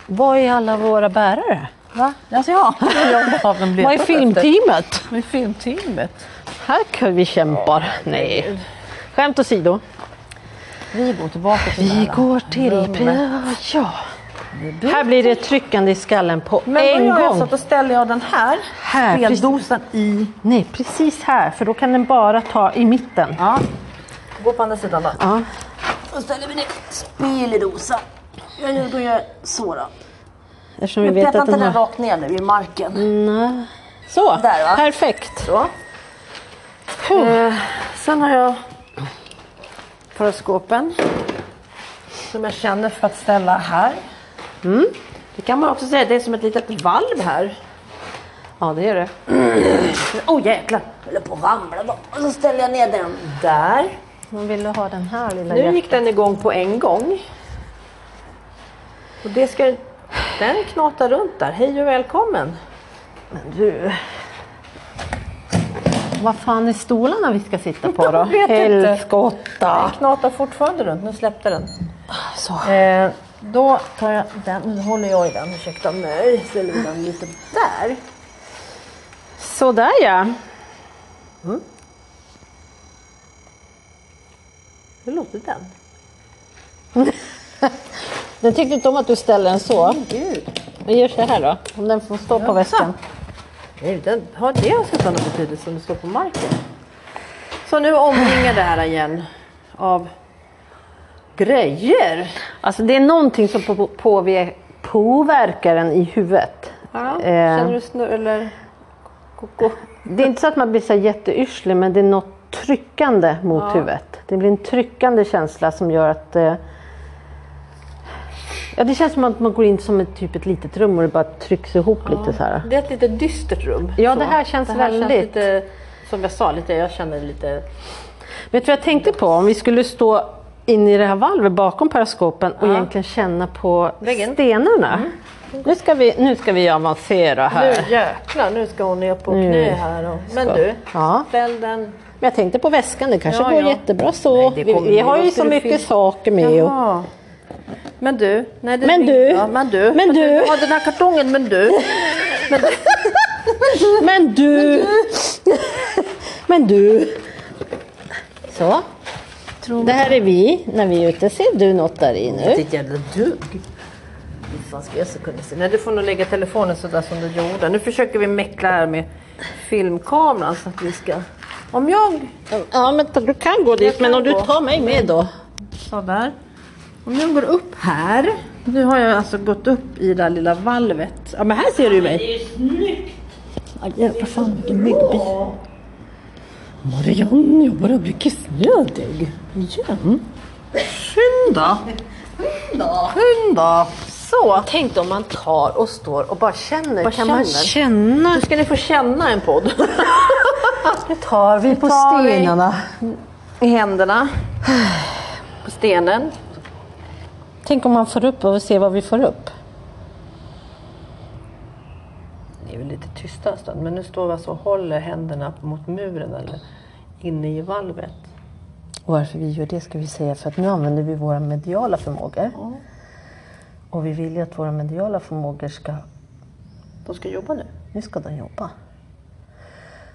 B: vad är alla våra bärare?
A: Va? Alltså ja. Jag gav dem
B: Vad är
A: letat
B: filmteamet?
A: efter. Vad är filmteamet?
B: Här kan vi kämpar. Nej. Skämt åsido.
A: Vi går tillbaka till det
B: Vi
A: här.
B: går till... Ja. Här blir det tryckande i skallen på
A: Men
B: en
A: vad gör jag?
B: gång.
A: Så att då ställer jag den här,
B: Här,
A: speldosan i...
B: Nej, precis här, för då kan den bara ta i mitten.
A: Ja. Gå på andra sidan då.
B: Ja.
A: Då ställer vi ner speldosan. Jag gör- då gör jag så då.
B: Eftersom vi
A: Men
B: vet
A: peta
B: att
A: inte
B: den
A: den
B: har... Mm.
A: rakt ner nu i marken.
B: Nej. Så,
A: Där, va?
B: perfekt.
A: Så. Eh, sen har jag paraskopen som jag känner för att ställa här.
B: Mm.
A: Det kan man också säga, det är som ett litet valv här.
B: Ja, det är det.
A: Åh oh, jäklar, jag höll på att ramla då. Och så ställer jag ner den där.
B: Man ville ha den här lilla
A: Nu
B: nu...
A: gick den igång på en gång. Och det ska den knata runt där. Hej och välkommen.
B: du. Vad fan är stolarna vi ska sitta på då?
A: Jag vet inte.
B: Helskotta!
A: Den knatar fortfarande runt, nu släppte den.
B: Så.
A: Eh, då tar jag den, nu håller jag i den, ursäkta mig. Ställer vi den lite där.
B: Sådär ja.
A: Mm. Hur låter den?
B: Den tyckte inte om att du ställer den så.
A: Gud.
B: Vi gör så här då, om den får stå på väskan.
A: Nej, den, har det ens någon betydelse om det står på marken? Så nu omringar det här igen av grejer.
B: Alltså det är någonting som på, på, påver- påverkar en i huvudet.
A: Ja,
B: Eh.
A: Känner du snurr eller koko?
B: Det är inte så att man blir så här jätteyrslig men det är något tryckande mot huvudet. Det blir en tryckande känsla som gör att eh, Ja, det känns som att man går in som ett, typ ett litet rum och det bara trycks ihop lite så här.
A: Det är ett lite dystert rum.
B: Ja,
A: Så.
B: det här känns väldigt-
A: lite, som jag sa, lite, jag känner lite...
B: Vet du vad jag tänkte på? Om vi skulle stå in i det här valvet bakom paraskopen och egentligen känna på
A: Väggen. Mm.
B: stenarna. Nu, ska vi, nu ska vi avancera här.
A: Nu jäklar, nu ska hon ner på
B: Nu
A: knä här. Och, men
B: ska-
A: du,
B: Ja.
A: ställ den
B: Men jag tänkte på väskan, det kanske
A: Ja,
B: går
A: ja.
B: jättebra så.
A: Nej, det
B: vi
A: kommer
B: vi
A: ju.
B: har
A: Vad
B: ju
A: ska
B: så
A: du
B: mycket
A: finna?
B: saker med. Och,
A: Jaha. Men du. Nej, det
B: Men du.
A: Ja, men du.
B: Men du.
A: Ja, den här kartongen, men du.
B: men du! men du! Så. Det här är vi när vi är ute. Ser du något där i nu?
A: Ditt jävla dugg. Hur fan ska jag så kunna se? Nej, du får nog lägga telefonen sådär som du gjorde. Nu försöker vi mäckla här med filmkameran så att vi ska... Om jag...
B: Ja, men du kan gå dit.
A: kan
B: Men om du
A: gå.
B: tar mig med då?
A: Sådär. Om jag går upp här. Nu har jag alltså gått upp i det där lilla valvet. Ja men här ser du ju mig.
F: Det är ju snyggt!
A: Ja, jävlar fan vilken myggbi. Marianne, jag börjar bli kissnödig. Igen. Skynda! Skynda!
B: Så! Tänk om man tar och står och bara känner.
A: Vad
B: kan
A: känner?
B: man känna?
A: Nu ska ni få känna en podd.
B: Nu tar vi på
A: tar vi.
B: stenarna.
A: I händerna. På stenen.
F: Tänk om man får upp och ser vad vi får upp.
G: Ni är väl lite tysta en stund, men nu står vi alltså och håller händerna mot muren eller inne i valvet.
F: Och varför vi gör det ska vi säga för att nu använder vi våra mediala förmågor. Och vi vill ju att våra mediala förmågor ska...
G: De ska jobba nu.
F: Nu ska de jobba.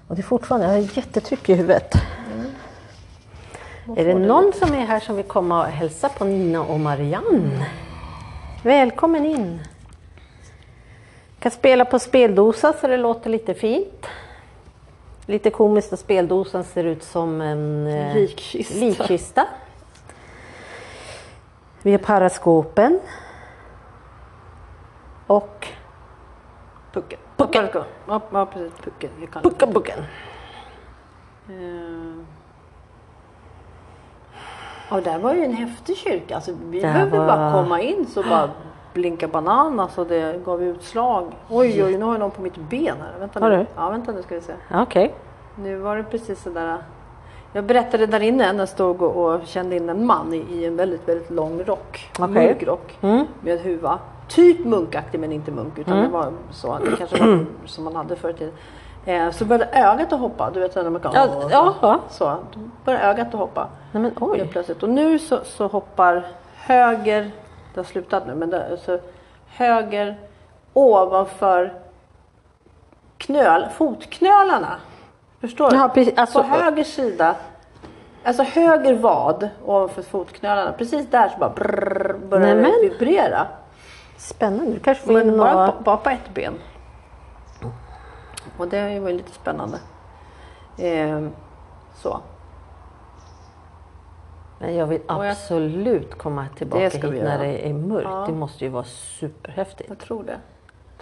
F: Och det är fortfarande... Jag har ett jättetryck i huvudet.
B: Är det någon som är här som vill komma och hälsa på Nina och Marianne? Välkommen in! Kan spela på speldosa så det låter lite fint. Lite komiskt att speldosan ser ut som en eh,
A: Likkista.
B: likkista. Vi har paraskopen. Och
A: Pucken.
B: Pucken.
A: Ja, ja precis. Pucken. Jag kallar det.
B: puckabucken.
A: Eh. Ja, där var ju en häftig kyrka. Alltså, vi
B: Där
A: behövde
B: var-
A: bara komma in så bara blinka banan så det gav utslag. Oj, oj, nu har jag någon på mitt ben här. Vänta
B: Har
A: nu.
B: du?
A: Ja, vänta nu ska vi se.
B: Okej.
A: Nu var det precis sådär. Jag berättade där inne när jag stod och, och kände in en man i, i en väldigt, väldigt lång rock.
B: Okej.
A: Mörk rock
B: Mm.
A: med huva. Typ munkaktig men inte munk utan det var så att det kanske var som man hade förr i tiden. Eh, så började ögat att hoppa. Du vet när man kan...
B: Ja, ja, ja.
A: Så, då började ögat att hoppa.
B: Nej men
A: Helt
B: oj.
A: plötsligt. Och nu så, så hoppar höger, det har slutat nu, men det, så höger ovanför knöl, fotknölarna. Förstår du?
B: Ja, precis. Alltså-
A: På höger sida, alltså höger vad ovanför fotknölarna. Precis där så bara brrr, börjar
B: Nämen.
A: det vibrera.
B: Spännande. Du kanske får in
A: Men bara,
B: några...
A: på- bara på ett ben. Och det var ju lite spännande. Ehm, så.
B: Men jag vill
A: jag-
B: absolut komma tillbaka
A: Det ska
B: hit
A: vi
B: när
A: göra.
B: det är mörkt. Det måste ju vara superhäftigt.
A: Jag tror det.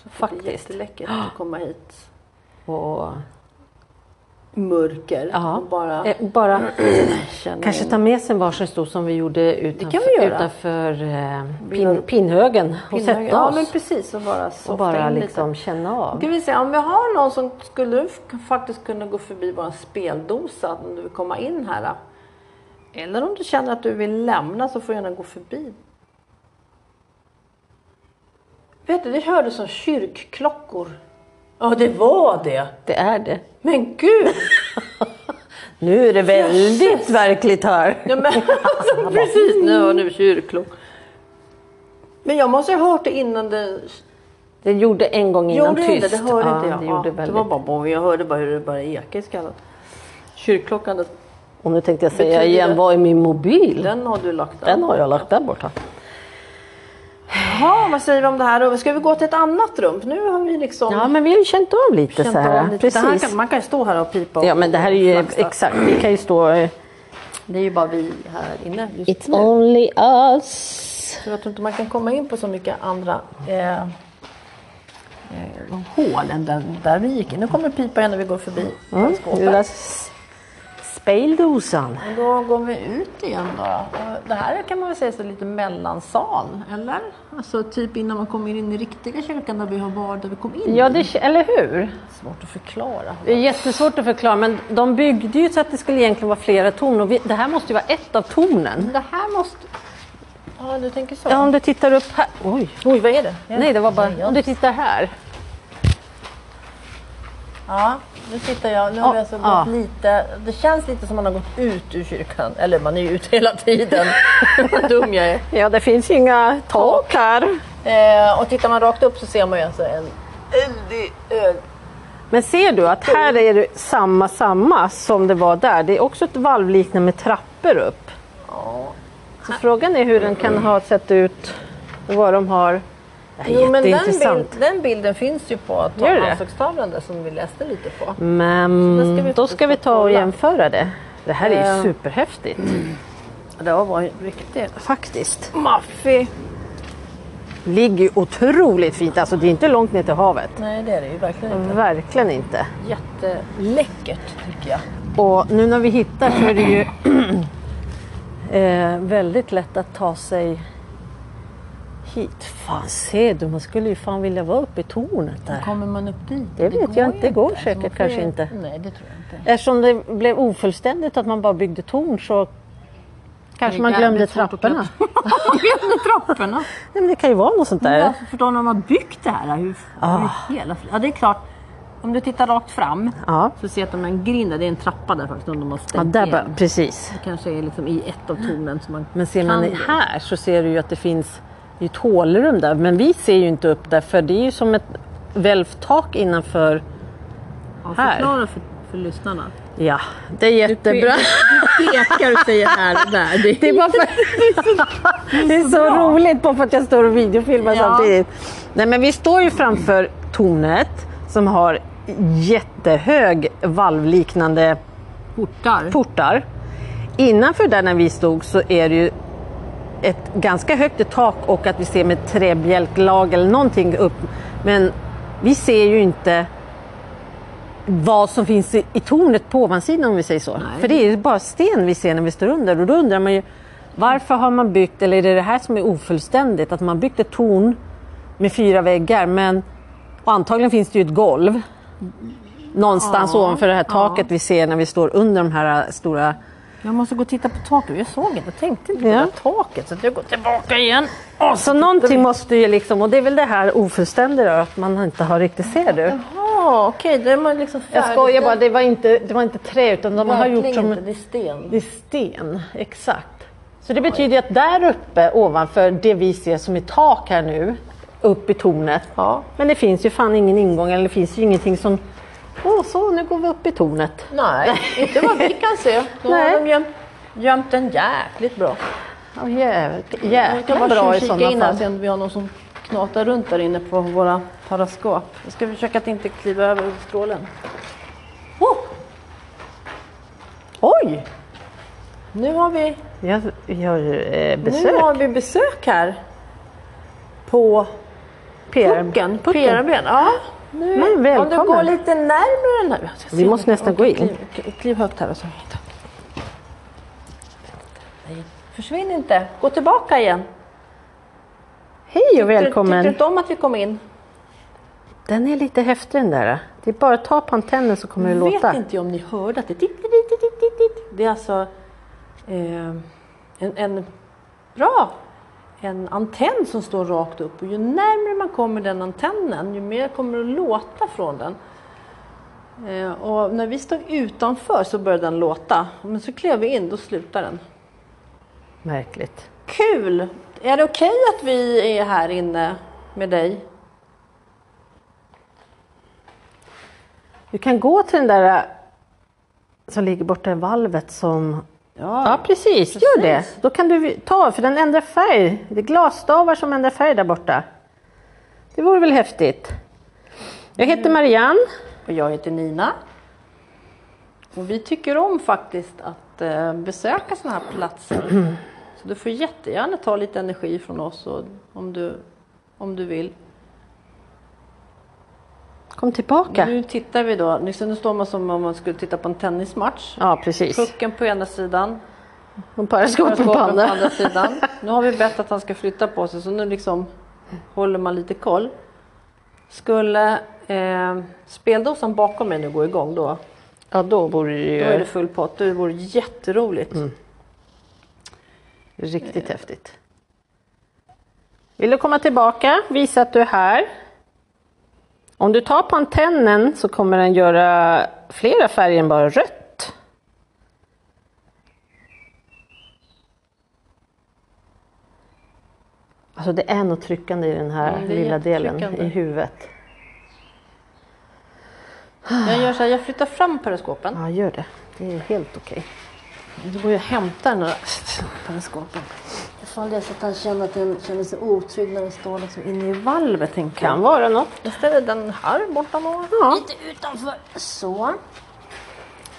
A: Det är
B: Faktiskt.
A: jätteläckert att komma hit.
B: Och,
A: mörker.
B: ja.
A: Och bara
B: Eh,
A: Mm.
B: bara
A: känna
B: kanske
A: in.
B: ta med sig en varsin stor som vi gjorde utanför,
A: kan vi göra.
B: utanför eh, pin, pinhögen och sätta oss.
A: Ja men precis och bara softa
B: och bara
A: in
B: liksom
A: lite.
B: känna av.
A: Ska vi se, om vi har någon som skulle f- faktiskt kunna gå förbi vår speldosa om du vill komma in här. då? Eller om du känner att du vill lämna så får du gärna gå förbi. Vet du, det hördes som kyrkklockor. Ja, det var det.
B: Det är det.
A: Men gud!
B: Nu är det väldigt verkligt här.
A: Ja, men, alltså, precis nu var nu kyrkklock. Men jag måste ha hört det innan det
B: Det gjorde en gång innan
A: Gjorde det
B: tyst.
A: det? Det hörde
B: ja,
A: inte jag.
B: Det
A: ja,
B: gjorde
A: det
B: väldigt.
A: var bara boing. Jag hörde bara hur det började eka i skallen. Kyrkklockan,
B: Och nu tänkte jag säga
A: Betyder det-
B: igen, vad är min mobil?
A: den har du lagt där.
B: Den har jag lagt där borta.
A: Jaha, vad säger vi om det här rummet? Ska vi gå till ett annat rum? Nu har vi liksom
B: Ja men vi har ju känt av lite
A: känt
B: så här.
A: av lite. Det
B: Precis.
A: här kan, man kan ju stå här och pipa. och-
B: Ja men det här är ju
A: och flaxa.
B: exakt, det kan ju stå eh,
A: Det är ju bara vi här inne just
B: It's only us.
A: nu. Jag tror inte man kan komma in på så mycket andra eh, eh, hål än där, där vi gick in. Nu kommer det pipa igen när vi går förbi
B: Mm.
A: skåpet.
B: Lilla s- speldosan.
A: Då går vi ut igen då. Och Det här kan man väl säga så lite mellansal, eller? Alltså typ innan man kommer in i riktiga kyrkan där vi har varit, där vi kom in.
B: Ja, det, eller hur?
A: Svårt att förklara.
B: Det är jättesvårt att förklara men de byggde ju så att det skulle egentligen vara flera torn och vi, det här måste ju vara ett av tornen.
A: Det här måste... Ja, du tänker så.
B: Ja, om du tittar upp här. Oj,
A: Oj, vad är det?
B: nej det var bara, om du tittar här.
G: Ja, nu tittar jag. Nu har vi alltså gått
B: ja.
G: lite... Det känns lite som man har gått ut ur kyrkan. Eller man är ju ute hela tiden. Vad dum jag är.
B: Ja, det finns ju inga tak här.
G: Eh, och tittar man rakt upp så ser man ju alltså en eldig ö-
B: Men ser du att här är det samma, samma som det var där. Det är också ett valvliknande med trappor upp. Så frågan är hur den kan ha sett ut och vad de har. Det här är
G: Jo, men den, bild,
B: jätteintressant.
G: den bilden finns ju på
B: Gör det?
G: anslagstavlan där som vi läste lite på. Så
B: Men
G: det ska vi
B: då ska vi ta och
G: kolla.
B: jämföra det. Det här är ju superhäftigt
A: Det var en riktig
B: faktiskt.
A: maffig
B: ligger ju otroligt fint. Alltså det är inte långt ner till havet.
A: Nej, det är det ju verkligen inte.
B: Verkligen inte.
E: Mm.
A: Jätteläckert tycker jag.
B: Och nu när vi hittar så är det ju eh, väldigt lätt att ta sig hit. Fan se du, man skulle ju fan vilja vara uppe i tornet där.
A: Kommer man upp dit?
B: Det vet
A: går
B: jag inte. Det går
A: ju
B: säkert
A: Man får
B: kanske
A: ju-
B: inte.
A: Nej, det tror jag inte.
B: Eftersom det blev ofullständigt att man bara byggde torn så kanske man glömde trapporna.
E: Trapporna.
B: Nej, men det kan ju vara något sånt där.
E: Alltså förstår ni, om man har byggt det här, hur, hur hela... Ja, det är klart. Om du tittar rakt fram
B: Ja.
E: så ser du att de har en grind där, det är en trappa där faktiskt, om de har stängt
B: Ja, där
E: igen.
B: bör- precis.
E: Det kanske är liksom i ett av tornen som man
B: Men ser man
E: kan-
B: här så ser du ju att det finns det är ett hålrum där. Men vi ser ju inte upp där för det är ju som ett välvtak innanför.
E: Ja,
B: här.
E: Förklara för, för lyssnarna.
B: Ja, det är jättebra.
E: Du pekar och säger här och där. Det är,
B: Det är, bara för... det är så roligt bara för att jag står och videofilmar
E: Ja.
B: samtidigt. Nej men vi står ju framför tornet som har jättehög valvliknande
E: portar.
B: portar. Innanför där när vi stod så är det ju ett ganska högt i tak och att vi ser med träbjälklag eller någonting upp. Men vi ser ju inte vad som finns i, i tornet på ovansidan om vi säger så. För det är ju bara sten vi ser när vi står under och då undrar man ju varför har man byggt, eller är det det här som är ofullständigt, att man byggt ett torn med fyra väggar men och antagligen finns det ju ett golv någonstans ovanför det här taket vi ser när vi står under de här stora
E: Jag måste gå och titta på taket. Jag såg inte, jag tänkte inte på
B: Ja.
E: det där taket. Så att jag går tillbaka igen.
B: Så någonting måste ju liksom, och det är väl det här ofullständiga då, att man inte har riktigt, ser du?
E: Ja, okej, då är man liksom
B: Jag skojar bara, det var inte, det var inte trä utan de har gjort som...
A: inte, det är sten.
B: Det är sten, exakt. Så det betyder ju att där uppe ovanför det vi ser som är tak här nu, upp i tornet. Men det finns ju fan ingen ingång eller det finns ju ingenting som, åh så nu går vi upp i tornet.
A: Nej, inte vad vi kan se. Då
B: Nej.
A: har de gömt, gömt den jäkligt bra.
B: Åh jävligt,
A: Vi kan
B: jävla
A: bara
B: bra i
A: kika
B: sådana
A: in här
B: fall.
A: se om vi har någon som knatar runt där inne på våra paraskop. Jag ska försöka att inte kliva över strålen.
B: Oj!
A: Nu har vi,
B: Jag, vi har eh,
A: nu
B: besök.
A: har vi besök här. På
B: PR.
A: pucken, på PRBn. Ja, nu.
B: Men
A: om du går
B: välkommen.
A: lite närmare den här. Jag ska
B: Vi
A: se.
B: måste nästan gå
A: Okej,
B: in.
A: Kliv, kliv högt här. och Så. Nej, Försvinn inte, gå tillbaka igen.
B: Hej och
A: Tyckte du
B: välkommen!
A: inte om att vi kom in?
B: Den är lite häftig den där. Det är bara att ta på antennen så kommer det
A: Jag
B: låta.
A: vet inte om ni hörde att det titt, titt, titt, titt, titt, titt. Det är alltså eh, en, en, bra, en antenn som står rakt upp och ju närmare man kommer den antennen ju mer kommer det att låta från den. Eh, och när vi stod utanför så började den låta, men så klev vi in, då slutade den.
B: Märkligt.
A: Kul! Är det okej att vi är här inne med dig?
B: Du kan gå till den där äh, som ligger borta i valvet som... Ja, precis. Gör det. Då kan du ta, för den ändrar färg. Det är glasstavar som ändrar färg där borta. Det vore väl häftigt. Jag
A: Mm.
B: heter Marianne.
A: Och jag heter Nina. Och vi tycker om faktiskt att eh, besöka sådana här platser. Så du får jättegärna ta lite energi från oss och, om, du, om du vill.
B: Kom tillbaka.
A: Nu tittar vi då, nu så nu står man som om man skulle titta på en tennismatch.
B: Ja, precis.
A: Pucken på ena sidan,
B: Och paraskopen på
A: skåpen på andra
B: andra.
A: sidan. Nu har vi bett att han ska flytta på sig så nu liksom håller man lite koll. Skulle eh, speldosan bakom mig nu gå igång då?
B: Ja, då vore det
A: Då är det
B: ju
A: full pott, det vore jätteroligt.
B: riktigt häftigt. Vill du komma tillbaka? Visa att du är här. Om du tar på antennen så kommer den göra flera färger än bara rött. Alltså det är något tryckande i den här
A: Mm, det är
B: lilla delen
A: jättetryckande.
B: i huvudet.
A: Jag gör så här, jag flyttar fram periskopen.
B: Ja, gör det. Det är helt okej.
A: Då går jag och hämtar den där periskopen.
E: Ifall det är så att han känner, att han känner sig otrygg när han står liksom inne i valvet. tänker
B: Kan vara något.
A: Jag ställer den här borta då.
E: jag. Lite utanför. Så.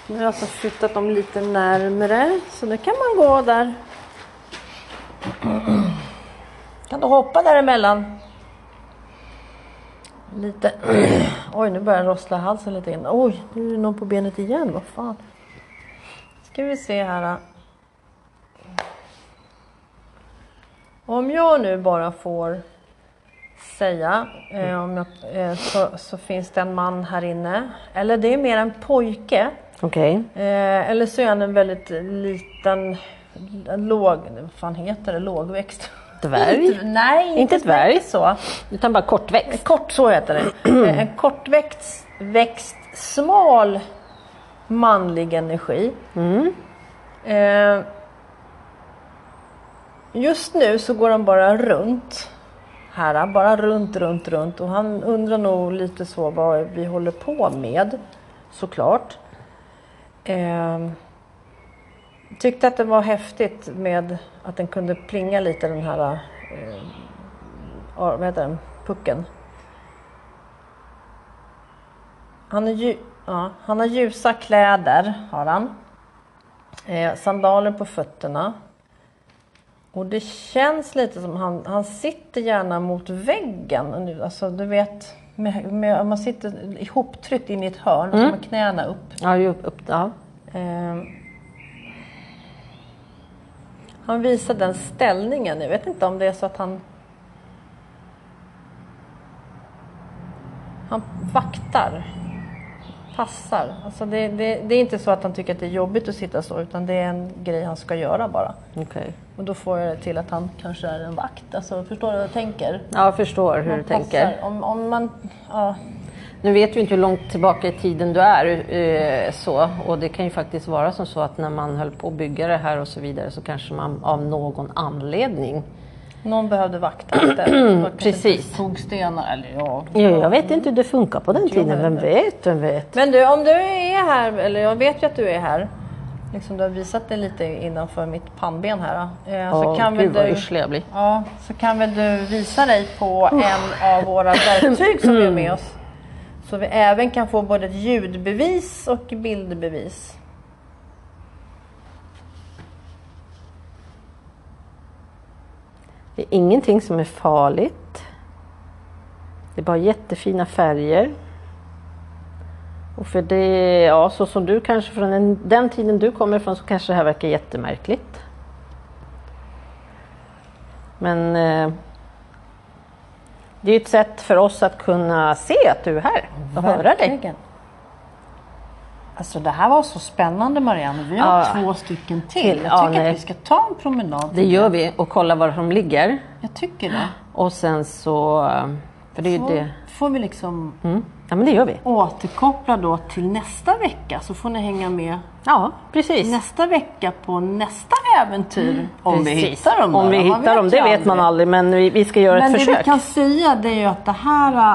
A: Nu har jag alltså flyttat dem lite närmre. Så nu kan man gå där. Kan du hoppa däremellan? Lite... Oj, nu börjar den rossla i halsen lite grann. Oj, nu är det någon på benet igen. Vad fan. Ska vi se här. då. Om jag nu bara får säga, eh, om jag, eh, så, så finns det en man här inne. Eller det är mer en pojke.
B: Okej.
A: Eh, eller så är han en väldigt liten, en låg, vad fan heter det, lågväxt?
B: Dvärg?
A: Nej, inte,
B: Inte dvärg.
A: så.
B: Utan bara kortväxt.
A: Kort, så heter det. Eh, en kortväxt, växt, smal manlig energi. Eh, just nu så går han bara runt. Här, bara runt, runt, runt. Och han undrar nog lite så vad vi håller på med. Såklart. Eh, tyckte att det var häftigt med att den kunde plinga lite den här eh, ar- vad heter den? pucken. Han, är ju, ja, han har ljusa kläder, har han. Eh, sandaler på fötterna. Och det känns lite som han, han sitter gärna mot väggen. nu. Alltså, du vet, med, med, om man sitter ihoptryckt in i ett hörn och så med knäna upp.
B: Ja, ju upp, ja.
A: Ehm. han visar den ställningen. Jag vet inte om det är så att han... Han vaktar. Passar. Alltså det, det, det är inte så att han tycker att det är jobbigt att sitta så utan det är en grej han ska göra bara.
B: Okej.
A: Och då får jag det till att han kanske är en vakt. Alltså, förstår du vad jag tänker?
B: Ja, jag förstår hur du tänker.
A: Passar. Om, om man... Ja.
B: Nu vet vi inte hur långt tillbaka i tiden du är. eh, Så, och det kan ju faktiskt vara som så att när man höll på att bygga det här och så vidare så kanske man av någon anledning
A: Någon behövde vakta lite. Det var kanske
B: Precis.
A: Tog stenar, eller ja,
B: Ja, jag vet inte hur det funkar på den tiden. Vem vet, vem vet.
A: Men du, om du är här, eller jag vet ju att du är här. Liksom du har visat dig lite innanför mitt pannben här. då. Eh,
B: Ja,
A: så, kan
B: gud
A: väl
B: vad
A: du,
B: yrslig jag blir.
A: ja, så kan väl du visa dig på en av våra verktyg som vi har liksom med oss. Så vi även kan få både ett ljudbevis och bildbevis.
B: Det är ingenting som är farligt. Det är bara jättefina färger. Och för det, ja, så som du kanske från den, den tiden du kommer ifrån så kanske det här verkar jättemärkligt. Men eh, det är ju ett sätt för oss att kunna se att du är här och höra dig.
A: Verkligen. Alltså det här var så spännande Marianne. Vi har
B: Ja.
A: två stycken till.
B: Till,
A: Jag
B: ja,
A: tycker
B: nej.
A: att vi ska ta en promenad.
B: Det gör vi och kolla var de ligger.
A: Jag tycker det.
B: Och sen så, eh, för det är ju
A: Så
B: det.
A: får vi liksom
B: Mm. Ja men det gör vi.
A: återkoppla då till nästa vecka så får ni hänga med
B: Ja precis.
A: nästa vecka på nästa äventyr. Om vi
B: Mm. Precis.
A: hittar dem.
B: Om
A: där,
B: vi
A: man
B: hittar dem,
A: ju
B: det vet man aldrig men vi, vi ska göra
A: Men
B: ett
A: det vi
B: försök.
A: kan säga det är ju att det här äh,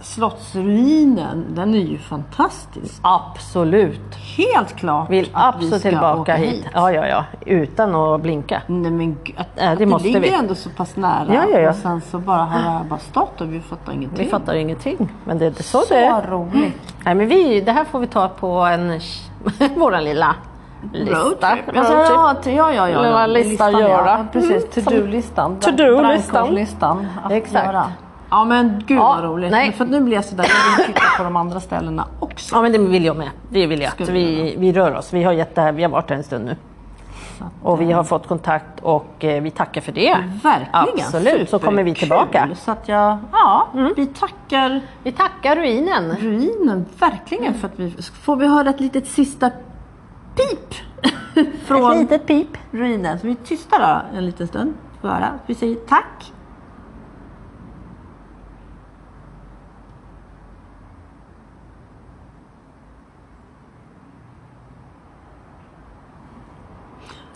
A: slottsruinen, den är ju fantastisk.
B: Absolut.
A: Helt klart
B: Vill
A: att
B: absolut tillbaka hit. Ja, ja, ja. Utan att blinka.
A: Nej men gud, att,
B: det
A: att det
B: måste
A: ligger
B: vi.
A: ändå så pass nära.
B: Ja, ja, ja.
A: Och sen så bara har det här bara stått och vi fattar ingenting.
B: Vi fattar ingenting. Men det är så,
A: så
B: det är.
A: roligt.
B: Nej, men vi, det här får vi ta på en, våran lilla lista.
A: Roadtrip. Alltså, ja, t- ja, ja, ja.
B: Lilla
A: ja.
B: lista
A: ja.
B: göra.
A: Ja, precis,
B: Mm.
A: to-do-listan.
B: To-do-listan.
A: Brandkårslistan att
B: Exakt.
A: göra. Ja men gud
B: Ja,
A: vad roligt.
B: nej.
A: För att nu blir jag sådär, jag vill titta på de andra ställena också.
B: Ja, men det vill jag med. Det vill jag. Att
A: vi
B: vi, vi rör oss. Vi har, gett det här, vi har varit här en stund nu. Och vi har fått kontakt och eh, vi tackar för det.
A: Verkligen.
B: Absolut, så kommer vi
A: Superkul.
B: tillbaka.
A: Så att jag, ja, vi tackar
B: Vi tackar ruinen.
A: ruinen verkligen för att vi, får vi höra ett litet sista pip
B: Ett
A: från
B: litet pip.
A: ruinen. Så vi är tysta då en liten stund. Får höra. Vi säger tack.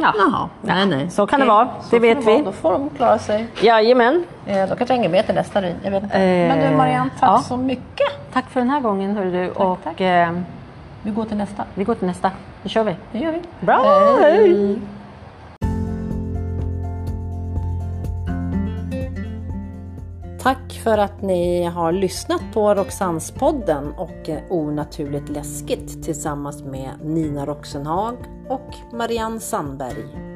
B: Ja.
A: Jaha, nej nej.
B: Så kan det
A: Okej.
B: vara,
A: Så
B: det
A: får
B: vet
A: vara.
B: vi.
A: Då får de klara sig.
B: Jajamän.
A: Eh, Då kanske jag hänger med till nästa ruin. Jag vet inte.
B: Eh,
A: Men du Marianne, tack
B: ja.
A: så mycket.
B: Tack för den här gången hörru du. och
A: tack.
B: Eh,
A: Vi går till nästa.
B: vi går till nästa. Nu kör vi.
A: Det gör vi.
B: Bra! Hej.
A: Tack för att ni har lyssnat på Roxannespodden och eh, Onaturligt läskigt tillsammans med Nina Roxenhag och Marianne Sandberg.